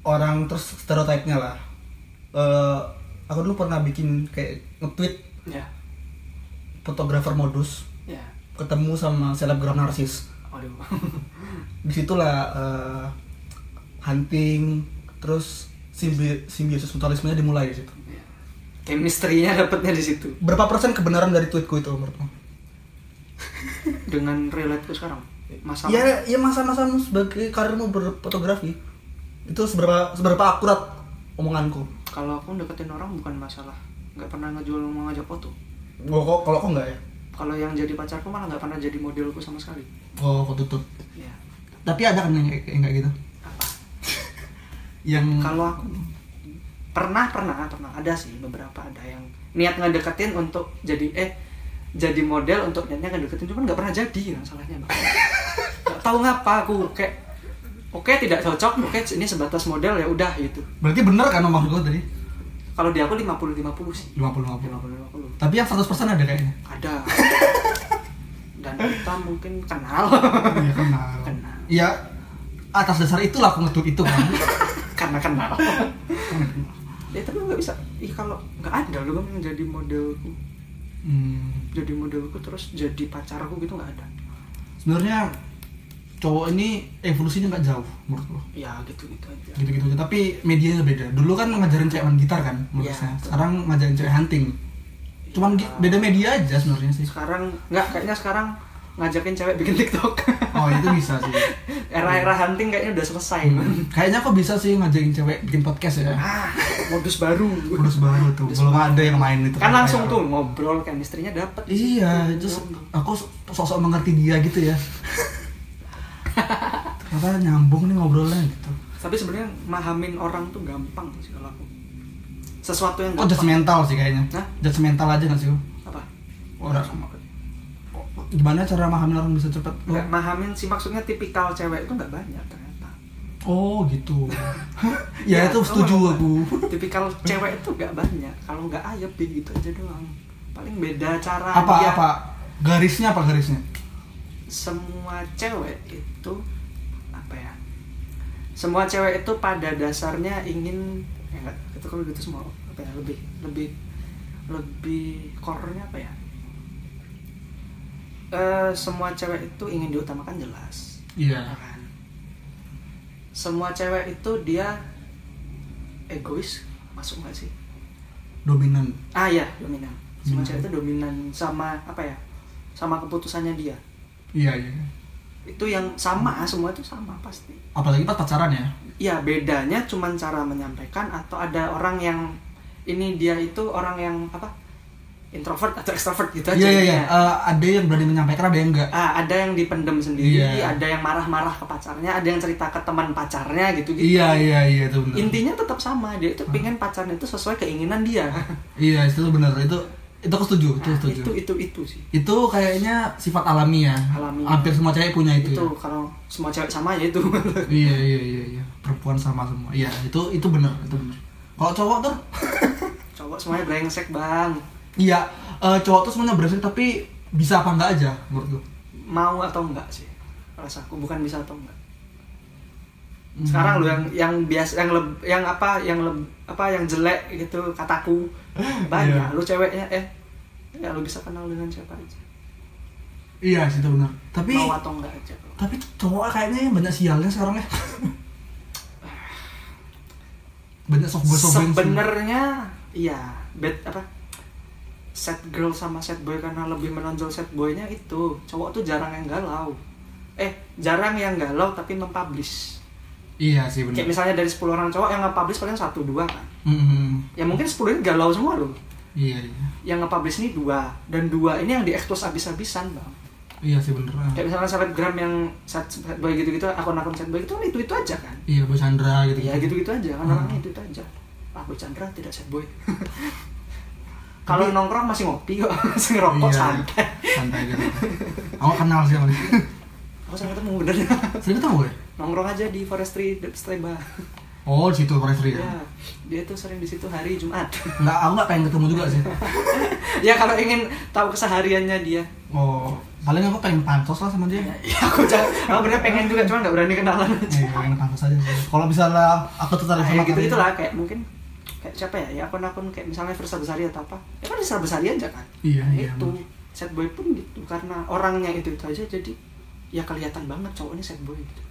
Speaker 2: orang terus stereotipnya lah. Eh, aku dulu pernah bikin kayak nge-tweet
Speaker 1: ya,
Speaker 2: fotografer modus
Speaker 1: ya.
Speaker 2: ketemu sama selebgram narsis.
Speaker 1: Aduh.
Speaker 2: Disitulah eh, hunting terus simbi simbiosis mutualismenya dimulai di situ.
Speaker 1: Ya. Chemistry-nya dapatnya di situ.
Speaker 2: Berapa persen kebenaran dari tweetku itu menurutmu?
Speaker 1: Dengan relate ke sekarang. Masalah.
Speaker 2: Iya, iya masa-masa sebagai karirmu berfotografi itu seberapa seberapa akurat omonganku.
Speaker 1: Kalau aku deketin orang bukan masalah. Nggak pernah ngejual mau ngajak foto.
Speaker 2: Gua kok kalau kok enggak ya?
Speaker 1: Kalau yang jadi pacarku malah nggak pernah jadi modelku sama sekali.
Speaker 2: Oh, kok tutup.
Speaker 1: Ya.
Speaker 2: Tapi ada kan yang kayak yang kayak gitu.
Speaker 1: Apa?
Speaker 2: Yang
Speaker 1: Kalau aku pernah pernah pernah ada sih beberapa ada yang niat ngedeketin untuk jadi eh jadi model untuk niatnya ngedeketin cuman nggak pernah jadi yang salahnya Bang. nggak tahu ngapa aku kayak oke tidak cocok oke ini sebatas model ya udah gitu
Speaker 2: berarti bener kan omong gua tadi?
Speaker 1: kalau di aku 50 50 sih
Speaker 2: 50
Speaker 1: 50 50
Speaker 2: 50. Tapi yang 100% ada kayaknya.
Speaker 1: ada dan kita mungkin kenal
Speaker 2: Iya kenal.
Speaker 1: Kenal.
Speaker 2: Iya atas dasar itulah aku ngetweet itu kan.
Speaker 1: karena kenal ya tapi nggak bisa ih kalau nggak ada lu kan yang jadi modelku
Speaker 2: hmm,
Speaker 1: jadi modelku terus jadi pacarku gitu nggak ada
Speaker 2: sebenarnya cowok ini evolusinya nggak jauh menurut lo.
Speaker 1: ya gitu gitu aja
Speaker 2: gitu-gitu aja tapi medianya beda dulu kan ngajarin cewek main gitar kan melukisnya
Speaker 1: Iya.
Speaker 2: sekarang ngajarin cewek hunting cuman gi- beda media aja sebenarnya sih
Speaker 1: sekarang nggak kayaknya sekarang ngajakin cewek bikin tiktok
Speaker 2: oh itu bisa sih
Speaker 1: era-era hunting kayaknya udah selesai
Speaker 2: Hmm. kayaknya kok bisa sih ngajakin cewek bikin podcast ya
Speaker 1: ah modus baru
Speaker 2: terus baru tuh belum ada yang main itu
Speaker 1: kan langsung
Speaker 2: Kayak-
Speaker 1: tuh ngobrol chemistry-nya dapet Gitu.
Speaker 2: iya itu se- aku so- sosok mengerti dia gitu ya ternyata nyambung nih ngobrolnya gitu
Speaker 1: tapi sebenarnya mahamin orang tuh gampang sih kalau aku sesuatu yang
Speaker 2: kok judgmental sih kayaknya
Speaker 1: Hah?
Speaker 2: judgmental aja nggak sih lo?
Speaker 1: apa
Speaker 2: orang sama gimana cara memahami orang bisa cepet lo?
Speaker 1: nggak mahamin sih maksudnya tipikal cewek itu nggak banyak ternyata
Speaker 2: Oh gitu. ya itu setuju aku.
Speaker 1: Iya, tipikal cewek itu nggak banyak kalau nggak A ya B gitu aja doang paling beda cara
Speaker 2: Apa
Speaker 1: dia-
Speaker 2: apa garisnya apa garisnya?
Speaker 1: semua cewek itu apa ya semua cewek itu pada dasarnya ingin ya enggak, itu kalau gitu semua apa ya lebih lebih lebih core-nya apa ya Eh, semua cewek itu ingin diutamakan jelas
Speaker 2: Iya.
Speaker 1: ya kan? semua cewek itu dia egois masuk nggak sih
Speaker 2: Dominan.
Speaker 1: ah ya dominan semua
Speaker 2: Dominan.
Speaker 1: cewek itu dominan sama apa ya sama keputusannya dia
Speaker 2: Iya iya.
Speaker 1: itu yang sama
Speaker 2: Hmm.
Speaker 1: semua itu sama pasti
Speaker 2: Apalagi pas pacaran ya.
Speaker 1: ya bedanya cuman cara menyampaikan atau ada orang yang ini dia itu orang yang apa introvert atau extrovert gitu aja
Speaker 2: Iya iya iya.
Speaker 1: ya.
Speaker 2: Eh, ada yang berani menyampaikan ada yang enggak.
Speaker 1: Ah, ada yang dipendem sendiri
Speaker 2: Iya.
Speaker 1: ada yang marah-marah ke pacarnya ada yang cerita ke teman pacarnya gitu gitu
Speaker 2: Iya iya iya itu benar.
Speaker 1: intinya tetap sama dia itu pengen pacarnya itu sesuai keinginan dia
Speaker 2: Iya itu benar itu itu aku setuju itu
Speaker 1: Nah,
Speaker 2: setuju.
Speaker 1: itu
Speaker 2: Itu,
Speaker 1: itu itu sih
Speaker 2: kayaknya sifat alami ya.
Speaker 1: Alami.
Speaker 2: Hampir semua cewek punya
Speaker 1: itu,
Speaker 2: itu. ya.
Speaker 1: kalau semua cewek sama ya itu
Speaker 2: Iya iya iya iya. Perempuan sama semua. Iya itu itu benar itu benar. Kalau cowok tuh
Speaker 1: cowok semuanya brengsek bang
Speaker 2: iya eh, cowok tuh sebenarnya berhasil tapi bisa apa enggak aja menurut gue.
Speaker 1: mau atau enggak sih rasaku bukan bisa atau enggak
Speaker 2: Hmm.
Speaker 1: sekarang lu yang yang biasa yang leb, yang apa yang leb- apa yang jelek gitu kataku banyak
Speaker 2: Iya.
Speaker 1: lu ceweknya eh ya lu bisa kenal dengan siapa aja
Speaker 2: Iya sih itu benar. Tapi
Speaker 1: mau atau enggak aja bro.
Speaker 2: tapi cowok kayaknya banyak sialnya sekarang ya. banyak softboy softboy.
Speaker 1: sebenarnya iya bad apa set girl sama set boy karena lebih menonjol set boynya itu cowok tuh jarang yang galau eh jarang yang galau tapi mempublish
Speaker 2: Iya sih
Speaker 1: kayak
Speaker 2: benar.
Speaker 1: misalnya dari 10 orang cowok yang nge-publish paling satu dua kan
Speaker 2: Hmm,
Speaker 1: ya mungkin 10 ini galau semua loh
Speaker 2: iya iya.
Speaker 1: yang nge-publish ini dua dan dua ini yang diekspos abis-abisan bang
Speaker 2: Iya sih bener. ah.
Speaker 1: kayak misalnya selebgram yang set boy gitu-gitu akun-akun set boy itu kan itu itu aja kan
Speaker 2: Iya Bu Chandra gitu.
Speaker 1: ya gitu-gitu aja kan
Speaker 2: Hmm.
Speaker 1: orangnya itu itu aja aku Chandra tidak set boy kalau nongkrong masih ngopi kok masih ngerokok
Speaker 2: Iya,
Speaker 1: santai
Speaker 2: Santai gitu. Aku kenal sih sama dia.
Speaker 1: aku sama ketemu bener
Speaker 2: Sering ketemu ya?
Speaker 1: nongkrong aja di forestry de- Streba
Speaker 2: Oh, di situ Forestry ya.
Speaker 1: ya dia tuh sering di situ hari Jumat
Speaker 2: Enggak, aku enggak pengen ketemu juga sih.
Speaker 1: ya kalau ingin tahu kesehariannya dia
Speaker 2: Oh, paling aku pengen pantos lah sama dia.
Speaker 1: ya aku jangan aku bener pengen juga cuma nggak berani kenalan aja
Speaker 2: Iya, pengen pantos aja sih. Kalau misalnya aku tertarik
Speaker 1: ya
Speaker 2: sama
Speaker 1: gitu
Speaker 2: kamu-
Speaker 1: gitulah kayak mungkin kayak siapa ya ya akun-akun kayak misalnya Versa Besari atau apa ya kan Versa Besari aja kan
Speaker 2: Iya, iya.
Speaker 1: itu set boy pun gitu karena orangnya itu itu aja jadi ya kelihatan banget cowok ini set boy gitu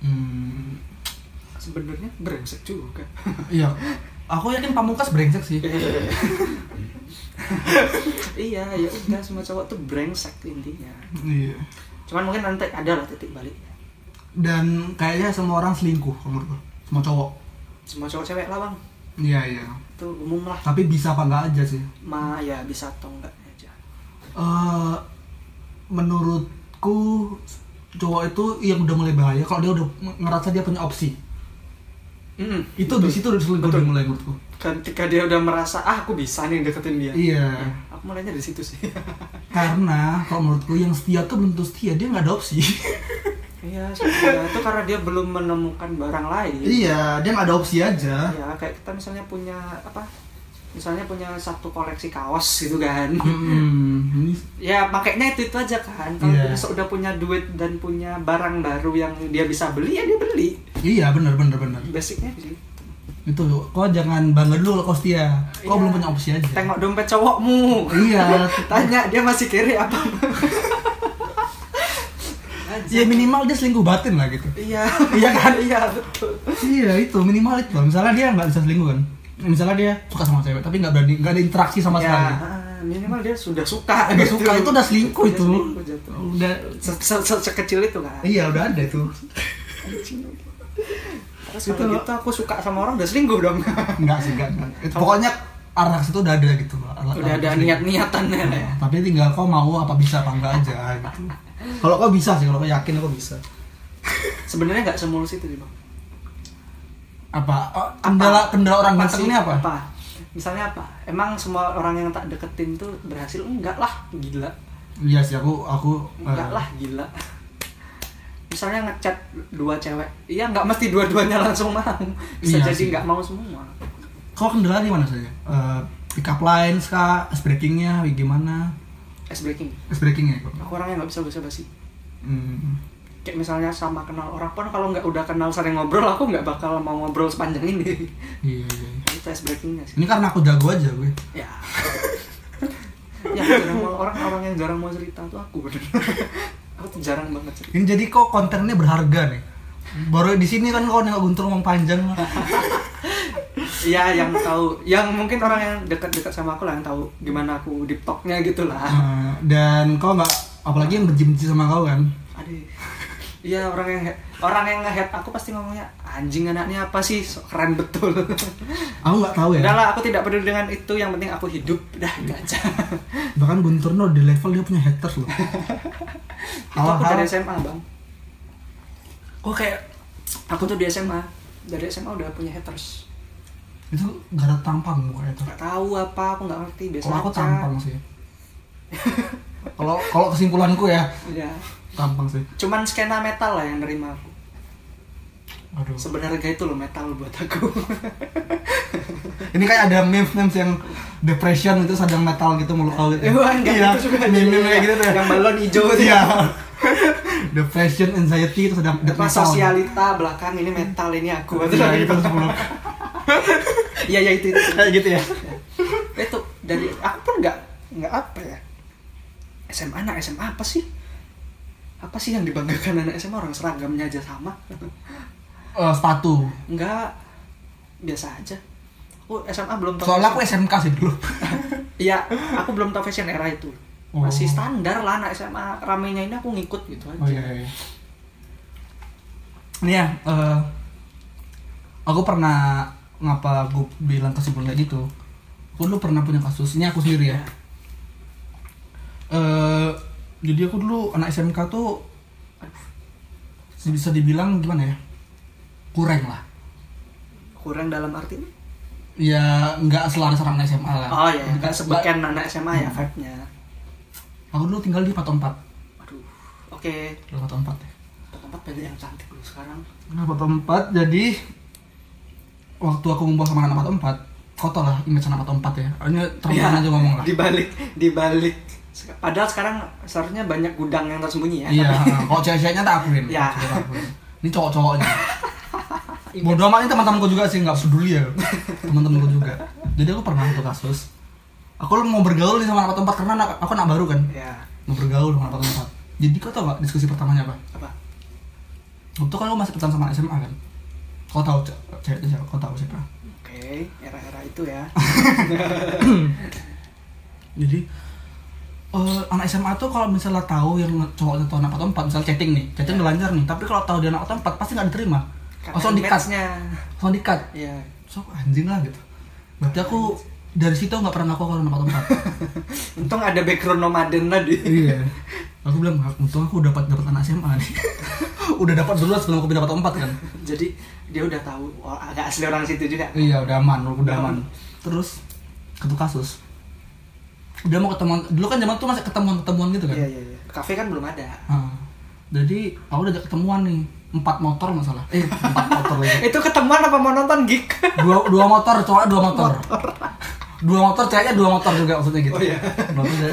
Speaker 2: Hmm,
Speaker 1: sebenarnya brengsek juga
Speaker 2: iya. Aku yakin Pamungkas brengsek sih.
Speaker 1: iya ya udah semua cowok tuh brengsek intinya
Speaker 2: Iya.
Speaker 1: cuman mungkin nanti ada lah titik baliknya
Speaker 2: Dan kayaknya semua orang selingkuh kalau menurut gue. Semua cowok.
Speaker 1: semua cowok cewek lah bang
Speaker 2: Iya, iya.
Speaker 1: itu umum lah
Speaker 2: Tapi bisa apa enggak aja sih.
Speaker 1: ma ya bisa atau enggak aja
Speaker 2: eh menurutku cowok itu yang udah mulai bahaya kalau dia udah ngerasa dia punya opsi
Speaker 1: Mm-mm.
Speaker 2: Hmm, itu di situ udah selingkuh
Speaker 1: Betul.
Speaker 2: dia mulai menurutku
Speaker 1: ketika dia udah merasa ah aku bisa nih deketin dia
Speaker 2: iya
Speaker 1: aku mulainya dari situ sih
Speaker 2: karena kalau menurutku yang setia tuh belum tentu setia dia nggak ada opsi
Speaker 1: iya sebenarnya itu karena dia belum menemukan barang lain
Speaker 2: iya dia nggak ada opsi aja
Speaker 1: ya kayak kita misalnya punya apa misalnya punya satu koleksi kaos gitu kan
Speaker 2: hmm, ini
Speaker 1: ya pakainya itu itu aja kan kalau
Speaker 2: Iya.
Speaker 1: dia sudah punya duit dan punya barang baru yang dia bisa beli ya dia beli
Speaker 2: iya bener bener bener
Speaker 1: basicnya gitu. sih
Speaker 2: itu kok jangan bangga dulu kalau kau setia
Speaker 1: Iya.
Speaker 2: kau belum punya opsi aja
Speaker 1: tengok dompet cowokmu
Speaker 2: iya
Speaker 1: tanya dia masih kiri apa
Speaker 2: ya minimal dia selingkuh batin lah gitu
Speaker 1: iya
Speaker 2: Iya kan?
Speaker 1: iya betul
Speaker 2: Iya itu minimal itu. Misalnya dia nggak bisa selingkuh kan? Misalnya dia suka sama cewek tapi nggak berani nggak ada interaksi sama
Speaker 1: ya
Speaker 2: sekali.
Speaker 1: ah, minimal dia sudah suka
Speaker 2: Nggak suka itu udah selingkuh
Speaker 1: Dia
Speaker 2: itu.
Speaker 1: selingkuh jatuh.
Speaker 2: Udah
Speaker 1: Se- se- se- sekecil itu kan
Speaker 2: iya udah ada itu.
Speaker 1: terus
Speaker 2: Itu-
Speaker 1: kalau gitu aku suka sama orang udah selingkuh dong
Speaker 2: Enggak sih enggak. enggak. Itu, pokoknya arah ke situ udah ada gitu. Arah-
Speaker 1: udah
Speaker 2: arah
Speaker 1: ada
Speaker 2: ke situ.
Speaker 1: niat-niatannya
Speaker 2: Nah,
Speaker 1: ya
Speaker 2: tapi tinggal kau mau apa bisa apa enggak aja gitu. Kalau kau bisa sih, kalau kau yakin kau bisa.
Speaker 1: sebenarnya nggak semulus itu sih bang
Speaker 2: Apa? Oh, Kendala kendala orang
Speaker 1: Apa
Speaker 2: ganteng
Speaker 1: sih?
Speaker 2: ini apa?
Speaker 1: apa misalnya apa emang semua orang yang tak deketin tuh berhasil enggak lah gila
Speaker 2: Iya sih aku aku
Speaker 1: enggak
Speaker 2: eh,
Speaker 1: lah gila misalnya ngechat dua cewek iya nggak mesti dua-duanya langsung mau bisa
Speaker 2: Iya
Speaker 1: jadi
Speaker 2: sih.
Speaker 1: nggak mau semua
Speaker 2: Kau kendala di mana saja? Eh, pick up lines kah? Ice breakingnya gimana?
Speaker 1: ice breaking
Speaker 2: Ice breakingnya kok.
Speaker 1: aku orangnya nggak bisa basa basi
Speaker 2: Hmm.
Speaker 1: kayak misalnya sama kenal orang pun kalau nggak udah kenal sering ngobrol aku nggak bakal mau ngobrol sepanjang ini
Speaker 2: Iya, iya. iya.
Speaker 1: itu ice breakingnya sih
Speaker 2: Ini karena aku jago aja gue.
Speaker 1: ya ya jarang mau orang orang yang jarang mau cerita tuh aku bener aku tuh jarang banget cerita
Speaker 2: Ini jadi kok kontennya berharga nih. Baru di sini kan kau nengok Guntur ngomong panjang lah.
Speaker 1: Iya yang tahu, yang mungkin orang yang dekat-dekat sama aku lah yang tahu gimana aku di talknya gitu lah.
Speaker 2: Eh, dan kau nggak apalagi yang benci-benci sama kau kan.
Speaker 1: Aduh. Iya orang yang orang yang nge-head aku pasti ngomongnya anjing anaknya apa sih So keren betul.
Speaker 2: Aku nggak tahu ya.
Speaker 1: Udahlah aku tidak peduli dengan itu yang penting aku hidup dah itu aja.
Speaker 2: Bahkan Guntur no di level dia punya haters loh.
Speaker 1: itu aku dari
Speaker 2: Hal-hal
Speaker 1: SMA bang. Kok kayak aku tuh di SMA dari SMA udah punya haters.
Speaker 2: itu gak ada tampang muka itu.
Speaker 1: Gak tahu apa aku nggak ngerti biasa
Speaker 2: Kalau Oh, aku
Speaker 1: aja.
Speaker 2: tampang sih. Kalau kalau kesimpulanku ya
Speaker 1: Iya.
Speaker 2: tampang sih.
Speaker 1: Cuman skena metal lah yang nerima aku.
Speaker 2: Aduh.
Speaker 1: Sebenarnya itu loh metal buat aku.
Speaker 2: Ini kayak ada memes-memes yang depression itu sedang metal gitu mulu kau gitu.
Speaker 1: Eh, wah, enggak, itu juga ada.
Speaker 2: meme-meme kayak gitu tuh. ya.
Speaker 1: Yang balon hijau tuh.
Speaker 2: Iya. Depression, anxiety itu sedang death
Speaker 1: Apa
Speaker 2: metal.
Speaker 1: sosialita belakang ini metal ini aku
Speaker 2: Iya, itu sebelum.
Speaker 1: Iya ya itu, itu.
Speaker 2: Kayak gitu ya.
Speaker 1: Itu dari aku pun nggak nggak apa ya. SMA anak SMA apa sih? Apa sih yang dibanggakan anak SMA orang seragamnya aja sama?
Speaker 2: Eh, sepatu.
Speaker 1: Enggak biasa aja. Oh, Aku SMA belum tahu.
Speaker 2: Soalnya aku SMK sih dulu.
Speaker 1: Iya, aku belum tahu fashion era itu.
Speaker 2: Oh.
Speaker 1: Masih standar lah anak SMA ramenya ini aku ngikut gitu aja.
Speaker 2: Oh iya iya. Ini ya, eh, aku pernah ngapa gue bilang kesimpulan kayak gitu aku dulu pernah punya kasus ini aku sendiri ya eh jadi aku dulu anak SMK tuh bisa dibilang gimana ya kurang lah
Speaker 1: kurang dalam arti
Speaker 2: ya nggak selaras orang SMA lah
Speaker 1: oh ya nggak
Speaker 2: Nggak-
Speaker 1: sebagian anak SMA ya
Speaker 2: Hmm.
Speaker 1: vibe-nya
Speaker 2: aku dulu tinggal di 404
Speaker 1: aduh oke
Speaker 2: Dulu 404 ya
Speaker 1: tempat banyak yang cantik loh sekarang
Speaker 2: Nah, foto empat, jadi waktu aku ngumpul sama anak foto empat, foto lah image anak foto empat ya. Ini terang aja ngomong lah.
Speaker 1: Iya. di balik di balik padahal sekarang seharusnya banyak gudang yang tersembunyi ya
Speaker 2: Iya, nah, kalau cewek-ceweknya tak akuin.
Speaker 1: Iya.
Speaker 2: cewek tak akuin. Ini cowok-cowoknya. Bodoh amat ini teman-temanku juga sih, nggak peduli ya. Teman-temanku juga. Jadi aku pernah itu kasus. Aku mau bergaul nih sama anak foto empat karena anak- aku anak baru kan.
Speaker 1: ya
Speaker 2: Mau bergaul sama anak foto empat. Jadi kau tau gak diskusi pertamanya apa?
Speaker 1: apa
Speaker 2: Waktu kan aku masih pacaran sama anak SMA kan. Kau tahu ce- ceweknya siapa? Kau tahu siapa?
Speaker 1: oke era-era itu ya
Speaker 2: jadi eh, anak SMA tuh kalau misalnya tahu yang cowoknya tahu anak atau empat misalnya chatting nih chatting udah lancar nih tapi kalau tahu dia anak atau empat pasti nggak diterima Oh, langsung di cut
Speaker 1: match-nya
Speaker 2: langsung di cut
Speaker 1: ya
Speaker 2: so anjing lah gitu berarti aku dari situ nggak pernah ngaku kalau anak atau empat
Speaker 1: untung ada background nomaden tadi
Speaker 2: iya aku bilang "Mak, untung aku dapat dapat anak SMA nih udah dapat dulu sebelum aku dapat empat kan
Speaker 1: jadi dia udah tahu oh, agak asli orang situ juga
Speaker 2: Iya udah aman, udah
Speaker 1: aman.
Speaker 2: aman. Terus ketuk kasus. Udah mau ketemuan, dulu kan zaman tuh masih ketemuan-ketemuan gitu kan.
Speaker 1: iya iya iya kafe kan belum ada
Speaker 2: Ah, jadi aku udah ajak ketemuan nih empat motor masalah eh empat motor lagi Eh,
Speaker 1: itu ketemuan apa mau nonton gig
Speaker 2: dua dua motor cowok dua motor Iya, dua motor ceweknya dua motor juga maksudnya gitu
Speaker 1: Oh, iya.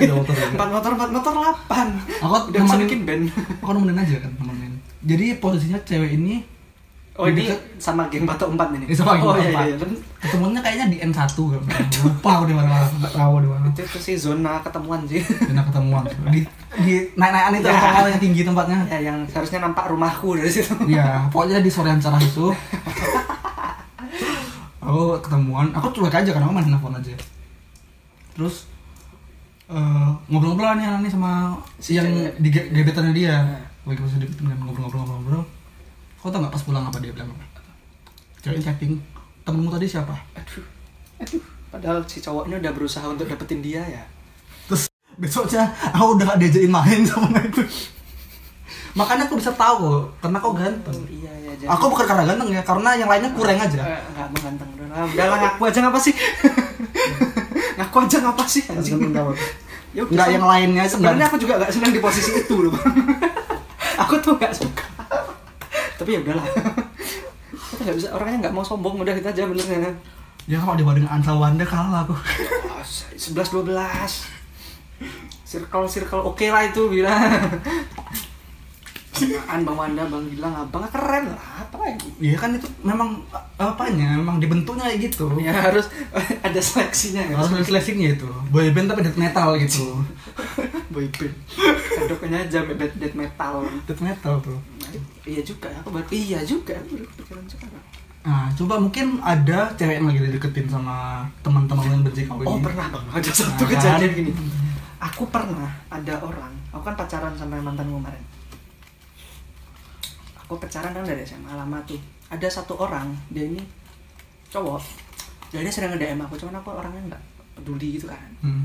Speaker 2: dua motor ceweknya dua motor juga
Speaker 1: empat motor empat motor delapan
Speaker 2: iya. aku
Speaker 1: udah bisa
Speaker 2: nemenin-
Speaker 1: bikin band
Speaker 2: aku nemenin aja kan nemenin jadi posisinya cewek ini
Speaker 1: oh ini
Speaker 2: Deket-
Speaker 1: sama geng batok empat ini
Speaker 2: eh, Iya. sama
Speaker 1: oh,
Speaker 2: oh,
Speaker 1: iya, iya, iya.
Speaker 2: ketemuannya kayaknya di N 1 kan lupa aku di mana mana nggak tahu di mana
Speaker 1: itu, itu sih zona ketemuan sih
Speaker 2: Pindah ketemuan di di naik naikan itu
Speaker 1: Ya.
Speaker 2: yeah. yang tinggi tempatnya
Speaker 1: ya yang seharusnya nampak rumahku dari situ
Speaker 2: Iya, pokoknya di sore yang cerah itu aku ketemuan, aku cuek aja karena aku main handphone aja. Terus eh, ngobrol-ngobrol nih anak ini sama
Speaker 1: Si
Speaker 2: yang
Speaker 1: cewek. Nah.
Speaker 2: di ge- gebetannya dia. kan, Lagi pas di dengan ngobrol-ngobrol-ngobrol. Kau tau nggak pas pulang apa dia bilang? apa? Cewek chatting, temenmu tadi siapa?
Speaker 1: aduh aduh padahal si cowok ini udah berusaha untuk dapetin dia ya
Speaker 2: Terus besoknya aku udah gak diajakin main sama itu. Makanya aku bisa tahu kok, karena kau ganteng.
Speaker 1: oh, iya ya jadi
Speaker 2: Aku bukan karena ganteng ya, karena yang lainnya kurang aja.
Speaker 1: Eh, nggak mau ganteng udah lah udah lah ngaku aja ngapa sih ngaku aja ngapa sih anjing Ya udah,
Speaker 2: Nggak,
Speaker 1: sen-
Speaker 2: yang lainnya aja
Speaker 1: sebenarnya
Speaker 2: nggak.
Speaker 1: aku juga nggak senang di posisi itu loh Bang. aku tuh nggak suka tapi ya udahlah kita nggak bisa orangnya nggak mau sombong udah kita aja benernya
Speaker 2: Ya kalau dibanding Antal Wanda kalah aku.
Speaker 1: sebelas dua belas circle circle oke lah itu bila Apaan Bang Wanda, Bang Gilang, Abang keren lah, apa lagi?
Speaker 2: Iya kan itu memang a- apanya, memang dibentuknya kayak gitu.
Speaker 1: Ya harus ada seleksinya ya.
Speaker 2: Harus ada slashingnya itu. Boyband tapi death metal gitu.
Speaker 1: boyband kedoknya aja death, death metal
Speaker 2: death metal tuh.
Speaker 1: Nah, iya juga aku baru iya juga aku baru kepikiran sekarang
Speaker 2: Nah, coba mungkin ada cewek yang lagi dideketin sama teman-teman yang benci kau ini.
Speaker 1: oh pernah bang ada satu
Speaker 2: Nah,
Speaker 1: kejadian
Speaker 2: kan?
Speaker 1: gini aku pernah ada orang aku kan pacaran sama mantan kemarin aku pacaran kan dari SMA lama tuh ada satu orang dia ini cowok jadi dia sering nge-DM aku cuman aku orangnya nggak peduli gitu kan
Speaker 2: Hmm.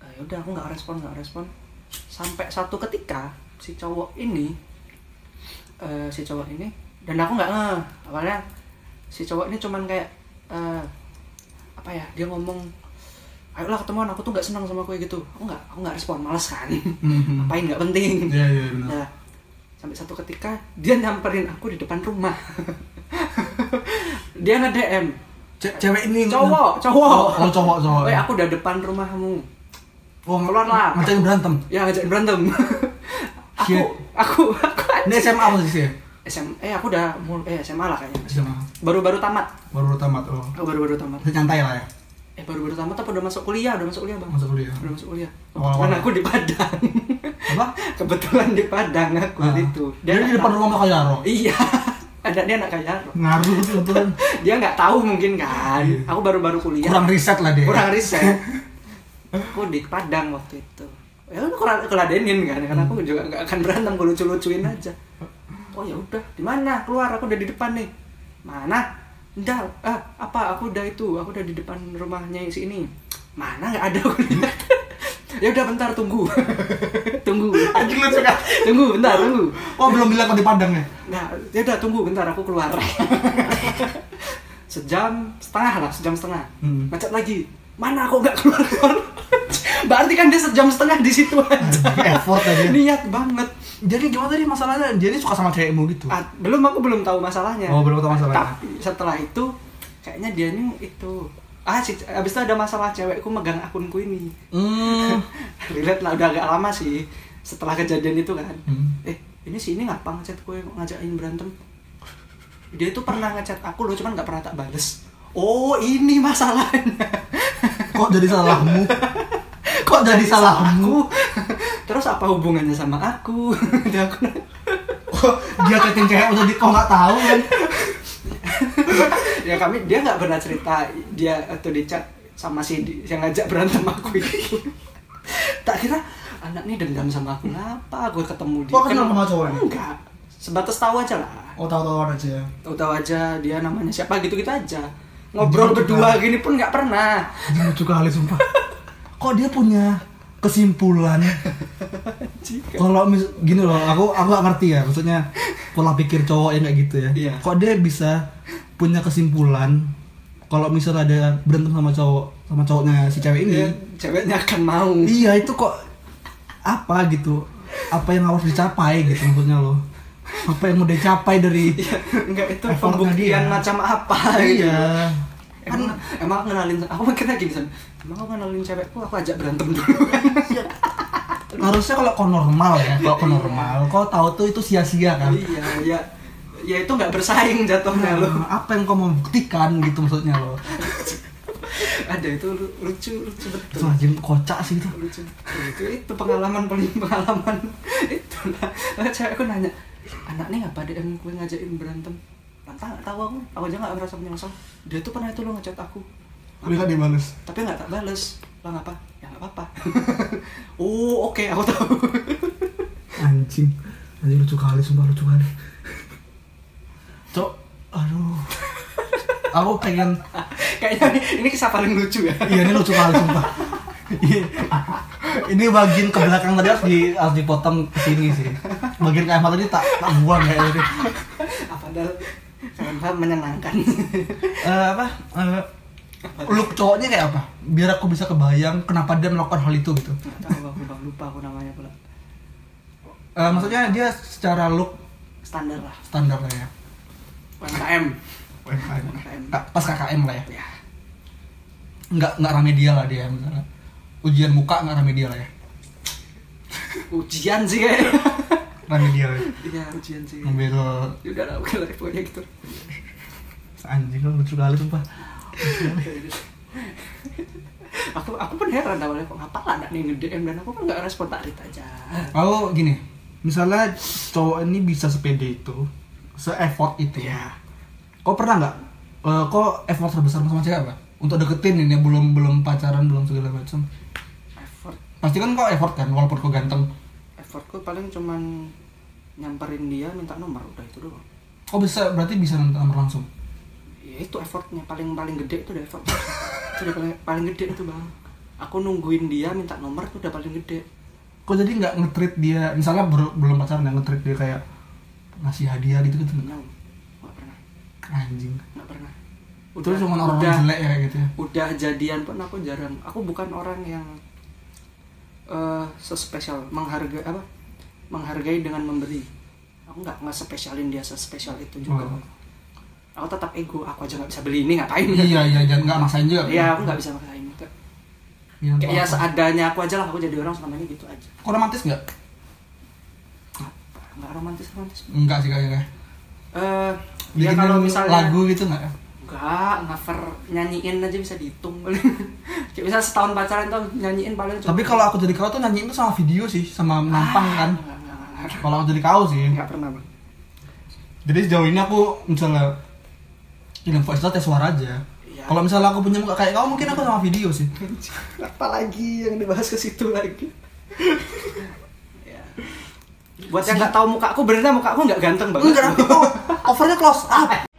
Speaker 1: Eh, ya udah aku nggak respon nggak respon sampai satu ketika si cowok ini eh, si cowok ini dan aku nggak ngeh awalnya si cowok ini cuman kayak eh, apa ya dia ngomong ayolah ketemuan aku tuh nggak senang sama kue gitu aku nggak aku nggak respon males kan
Speaker 2: Hmm.
Speaker 1: ngapain nggak penting
Speaker 2: Iya, iya benar.
Speaker 1: Nah, sampai satu ketika dia nyamperin aku di depan rumah dia nge DM
Speaker 2: Ce- cewek ini
Speaker 1: cowok cowok
Speaker 2: Iya, Oh, oh, cowok, cowok.
Speaker 1: Weh, aku udah depan rumahmu
Speaker 2: Oh,
Speaker 1: keluar lah.
Speaker 2: Ngatain berantem.
Speaker 1: ya ngajakin berantem aku,
Speaker 2: Shit.
Speaker 1: aku aku
Speaker 2: Iya. Ini SMA posisinya.
Speaker 1: SMA eh aku udah mul- eh SMA lah kayaknya
Speaker 2: SMA.
Speaker 1: baru-baru tamat
Speaker 2: Baru tamat. Oh.
Speaker 1: aku baru-baru tamat
Speaker 2: Masih nyantai lah ya.
Speaker 1: eh baru-baru tamat apa udah masuk kuliah udah masuk kuliah bang
Speaker 2: Masuk kuliah.
Speaker 1: udah masuk kuliah
Speaker 2: Awal-awal.
Speaker 1: kebetulan aku di Padang
Speaker 2: Apa?
Speaker 1: kebetulan di Padang aku
Speaker 2: Nah,
Speaker 1: itu
Speaker 2: Dia di depan rumah Kak Yaro.
Speaker 1: iya ada dia anak kaya
Speaker 2: Ngaruh tuh kebetulan.
Speaker 1: dia nggak tahu mungkin kan
Speaker 2: Iya.
Speaker 1: aku baru-baru kuliah
Speaker 2: Kurang riset lah dia.
Speaker 1: kurang riset aku di Padang waktu itu ya udah kurang keladenin kan karena aku juga nggak akan berantem gue lucu lucuin aja oh ya udah di mana keluar aku udah di depan nih mana Ntar, ah, apa aku udah itu aku udah di depan rumahnya si ini mana nggak ada aku lihat ya udah bentar tunggu tunggu
Speaker 2: Anjing lucu kan?
Speaker 1: tunggu bentar tunggu
Speaker 2: Oh belum bilang kok di Padang ya?
Speaker 1: nah ya udah tunggu bentar aku keluar sejam setengah lah sejam setengah
Speaker 2: Hmm.
Speaker 1: macet lagi mana aku nggak keluar keluar berarti kan dia sejam setengah di situ aja
Speaker 2: Effort aja.
Speaker 1: niat banget
Speaker 2: Jadi gimana tadi masalahnya? Jadi suka sama cewekmu gitu?
Speaker 1: Ah, belum aku belum tahu masalahnya
Speaker 2: Oh, belum tahu masalahnya.
Speaker 1: tapi setelah itu kayaknya dia ini itu ah si, abis itu ada masalah cewekku megang akunku ini
Speaker 2: Hmm.
Speaker 1: relate lah udah agak lama sih setelah kejadian itu kan
Speaker 2: Hmm.
Speaker 1: eh ini si ini ngapa ngechat gue ngajakin berantem dia itu pernah ngechat aku loh cuman nggak pernah tak bales oh ini masalahnya
Speaker 2: Kok jadi salahmu? Kok jadi
Speaker 1: aku
Speaker 2: salahmu?
Speaker 1: terus apa hubungannya sama aku Dia aku
Speaker 2: Kok dia chatting cewek udah di kok nggak tahu kan?
Speaker 1: ya kami dia nggak pernah cerita dia atau di chat sama si di- yang ngajak berantem aku itu tak kira anak ini dendam sama aku kenapa gue ketemu dia
Speaker 2: Oh, kenal sama cowoknya?
Speaker 1: enggak sebatas tahu aja lah
Speaker 2: Oh tahu-tahu aja.
Speaker 1: tahu-tahu aja dia namanya siapa gitu kita aja ngobrol berdua gini pun nggak pernah
Speaker 2: Anjing lucu kali sumpah. Kok dia punya kesimpulan? Kalau mis- gini loh, aku aku gak ngerti ya, maksudnya pola pikir cowok yang kayak gitu ya.
Speaker 1: Iya.
Speaker 2: Kok dia bisa punya kesimpulan kalau misalnya ada berantem sama cowok sama cowoknya si cewek ini?
Speaker 1: Dia ceweknya akan mau
Speaker 2: Iya itu kok apa gitu? Apa yang harus dicapai gitu maksudnya loh? Apa yang mau dicapai dari?
Speaker 1: Iya, enggak itu
Speaker 2: Effortnya
Speaker 1: pembuktian
Speaker 2: dia.
Speaker 1: macam apa gitu.
Speaker 2: iya.
Speaker 1: kan emang aku kenalin aku mikirnya gini San. emang aku kenalin cewekku aku ajak berantem dulu
Speaker 2: Harusnya kalau kok normal ya, kalau kok normal, kok tahu tuh itu sia-sia kan?
Speaker 1: iya ya ya itu nggak bersaing jatuhnya lo
Speaker 2: Nah, apa yang kau mau buktikan gitu maksudnya lo
Speaker 1: ada itu lu- lucu lucu
Speaker 2: itu
Speaker 1: betul
Speaker 2: anjing kocak sih itu
Speaker 1: lucu itu itu pengalaman paling pengalaman itulah Makanya cewekku nanya anak nih apa DM gue ngajakin berantem nggak tahu tahu aku aku aja nggak merasa menyesal dia tuh pernah itu lo ngechat aku
Speaker 2: udah kan dibales
Speaker 1: tapi nggak tak bales lah ngapa ya nggak apa-apa oh oke aku tahu
Speaker 2: anjing anjing lucu kali sumpah lucu kali cok aduh aku pengen
Speaker 1: kayaknya ini, ini kisah paling lucu ya
Speaker 2: iya ini lucu kali sumpah Iya. ini bagian ke belakang tadi harus di harus dipotong ke sini sih bagian kayak tadi tak tak buang kayak gitu
Speaker 1: apa dal kenapa menyenangkan
Speaker 2: Eh, apa Eh, look cowoknya kayak apa biar aku bisa kebayang kenapa dia melakukan hal itu gitu
Speaker 1: nggak tahu aku bang lupa aku namanya pula
Speaker 2: Eh, maksudnya dia secara look
Speaker 1: standar lah
Speaker 2: standar lah ya
Speaker 1: UMKM
Speaker 2: UMKM Ka- pas KKM lah ya
Speaker 1: ya
Speaker 2: nggak nggak rame dia lah dia misalnya ujian muka nggak rame dia lah ya
Speaker 1: ujian sih kayaknya
Speaker 2: rame dia lah ya.
Speaker 1: iya ujian sih
Speaker 2: ngambil
Speaker 1: ya udah lah oke lah pokoknya gitu
Speaker 2: anjing lu lucu kali sumpah
Speaker 1: aku aku pun heran awalnya kok ngapa lah anak nih nge DM dan aku kan nggak respon tak read aja
Speaker 2: kalau gini misalnya cowok ini bisa sepede itu se effort itu ya kok pernah nggak eh, kok effort terbesar sama cewek apa untuk deketin ini belum belum pacaran belum segala macam
Speaker 1: effort
Speaker 2: pasti kan kok effort kan walaupun kok ganteng
Speaker 1: effortku paling cuman nyamperin dia minta nomor udah itu doang
Speaker 2: kok bisa berarti bisa nonton nomor langsung
Speaker 1: ya itu effortnya paling paling gede itu udah effort itu udah paling, paling gede itu bang aku nungguin dia minta nomor itu udah paling gede
Speaker 2: kok jadi nggak ngetrit dia misalnya ber- belum pacaran nggak ngetrit dia kayak ngasih hadiah gitu gitu nggak?
Speaker 1: no nggak pernah
Speaker 2: anjing
Speaker 1: nggak pernah
Speaker 2: terus cuma orang
Speaker 1: udah-
Speaker 2: jelek ya kayak gitu ya
Speaker 1: udah jadian pun aku jarang aku bukan orang yang eh sespesial menghargai apa menghargai dengan memberi aku nggak nggak spesialin dia sespesial itu juga
Speaker 2: Oh.
Speaker 1: aku tetap ego aku aja nggak bisa beli ini ngapain
Speaker 2: iya iya jangan nggak maksain juga
Speaker 1: Iya, aku nggak bisa maksain itu
Speaker 2: Jangan
Speaker 1: kayak ya
Speaker 2: apa-apa.
Speaker 1: seadanya aku aja lah aku jadi orang selama ini gitu aja
Speaker 2: kok romantis nggak
Speaker 1: nggak romantis romantis
Speaker 2: nggak sih kayaknya
Speaker 1: eh ya
Speaker 2: Bikinin
Speaker 1: kalau misalnya
Speaker 2: lagu gitu nggak ya
Speaker 1: nggak cover nyanyiin aja bisa dihitung kayak misal setahun pacaran tuh nyanyiin paling cuma
Speaker 2: tapi kalau aku jadi kau tuh nyanyiin tuh sama video sih sama nampang kan
Speaker 1: Nggak, nggak, nggak, nggak.
Speaker 2: kalau aku jadi kau sih
Speaker 1: nggak pernah bang
Speaker 2: jadi sejauh ini aku misalnya kirim voice note ya suara aja
Speaker 1: Iya.
Speaker 2: kalau misalnya aku punya muka kayak kau mungkin aku sama video sih
Speaker 1: apalagi yang dibahas ke situ lagi Ya. buat yang nggak tahu muka aku benernya muka aku nggak ganteng banget
Speaker 2: enggak aku overnya close up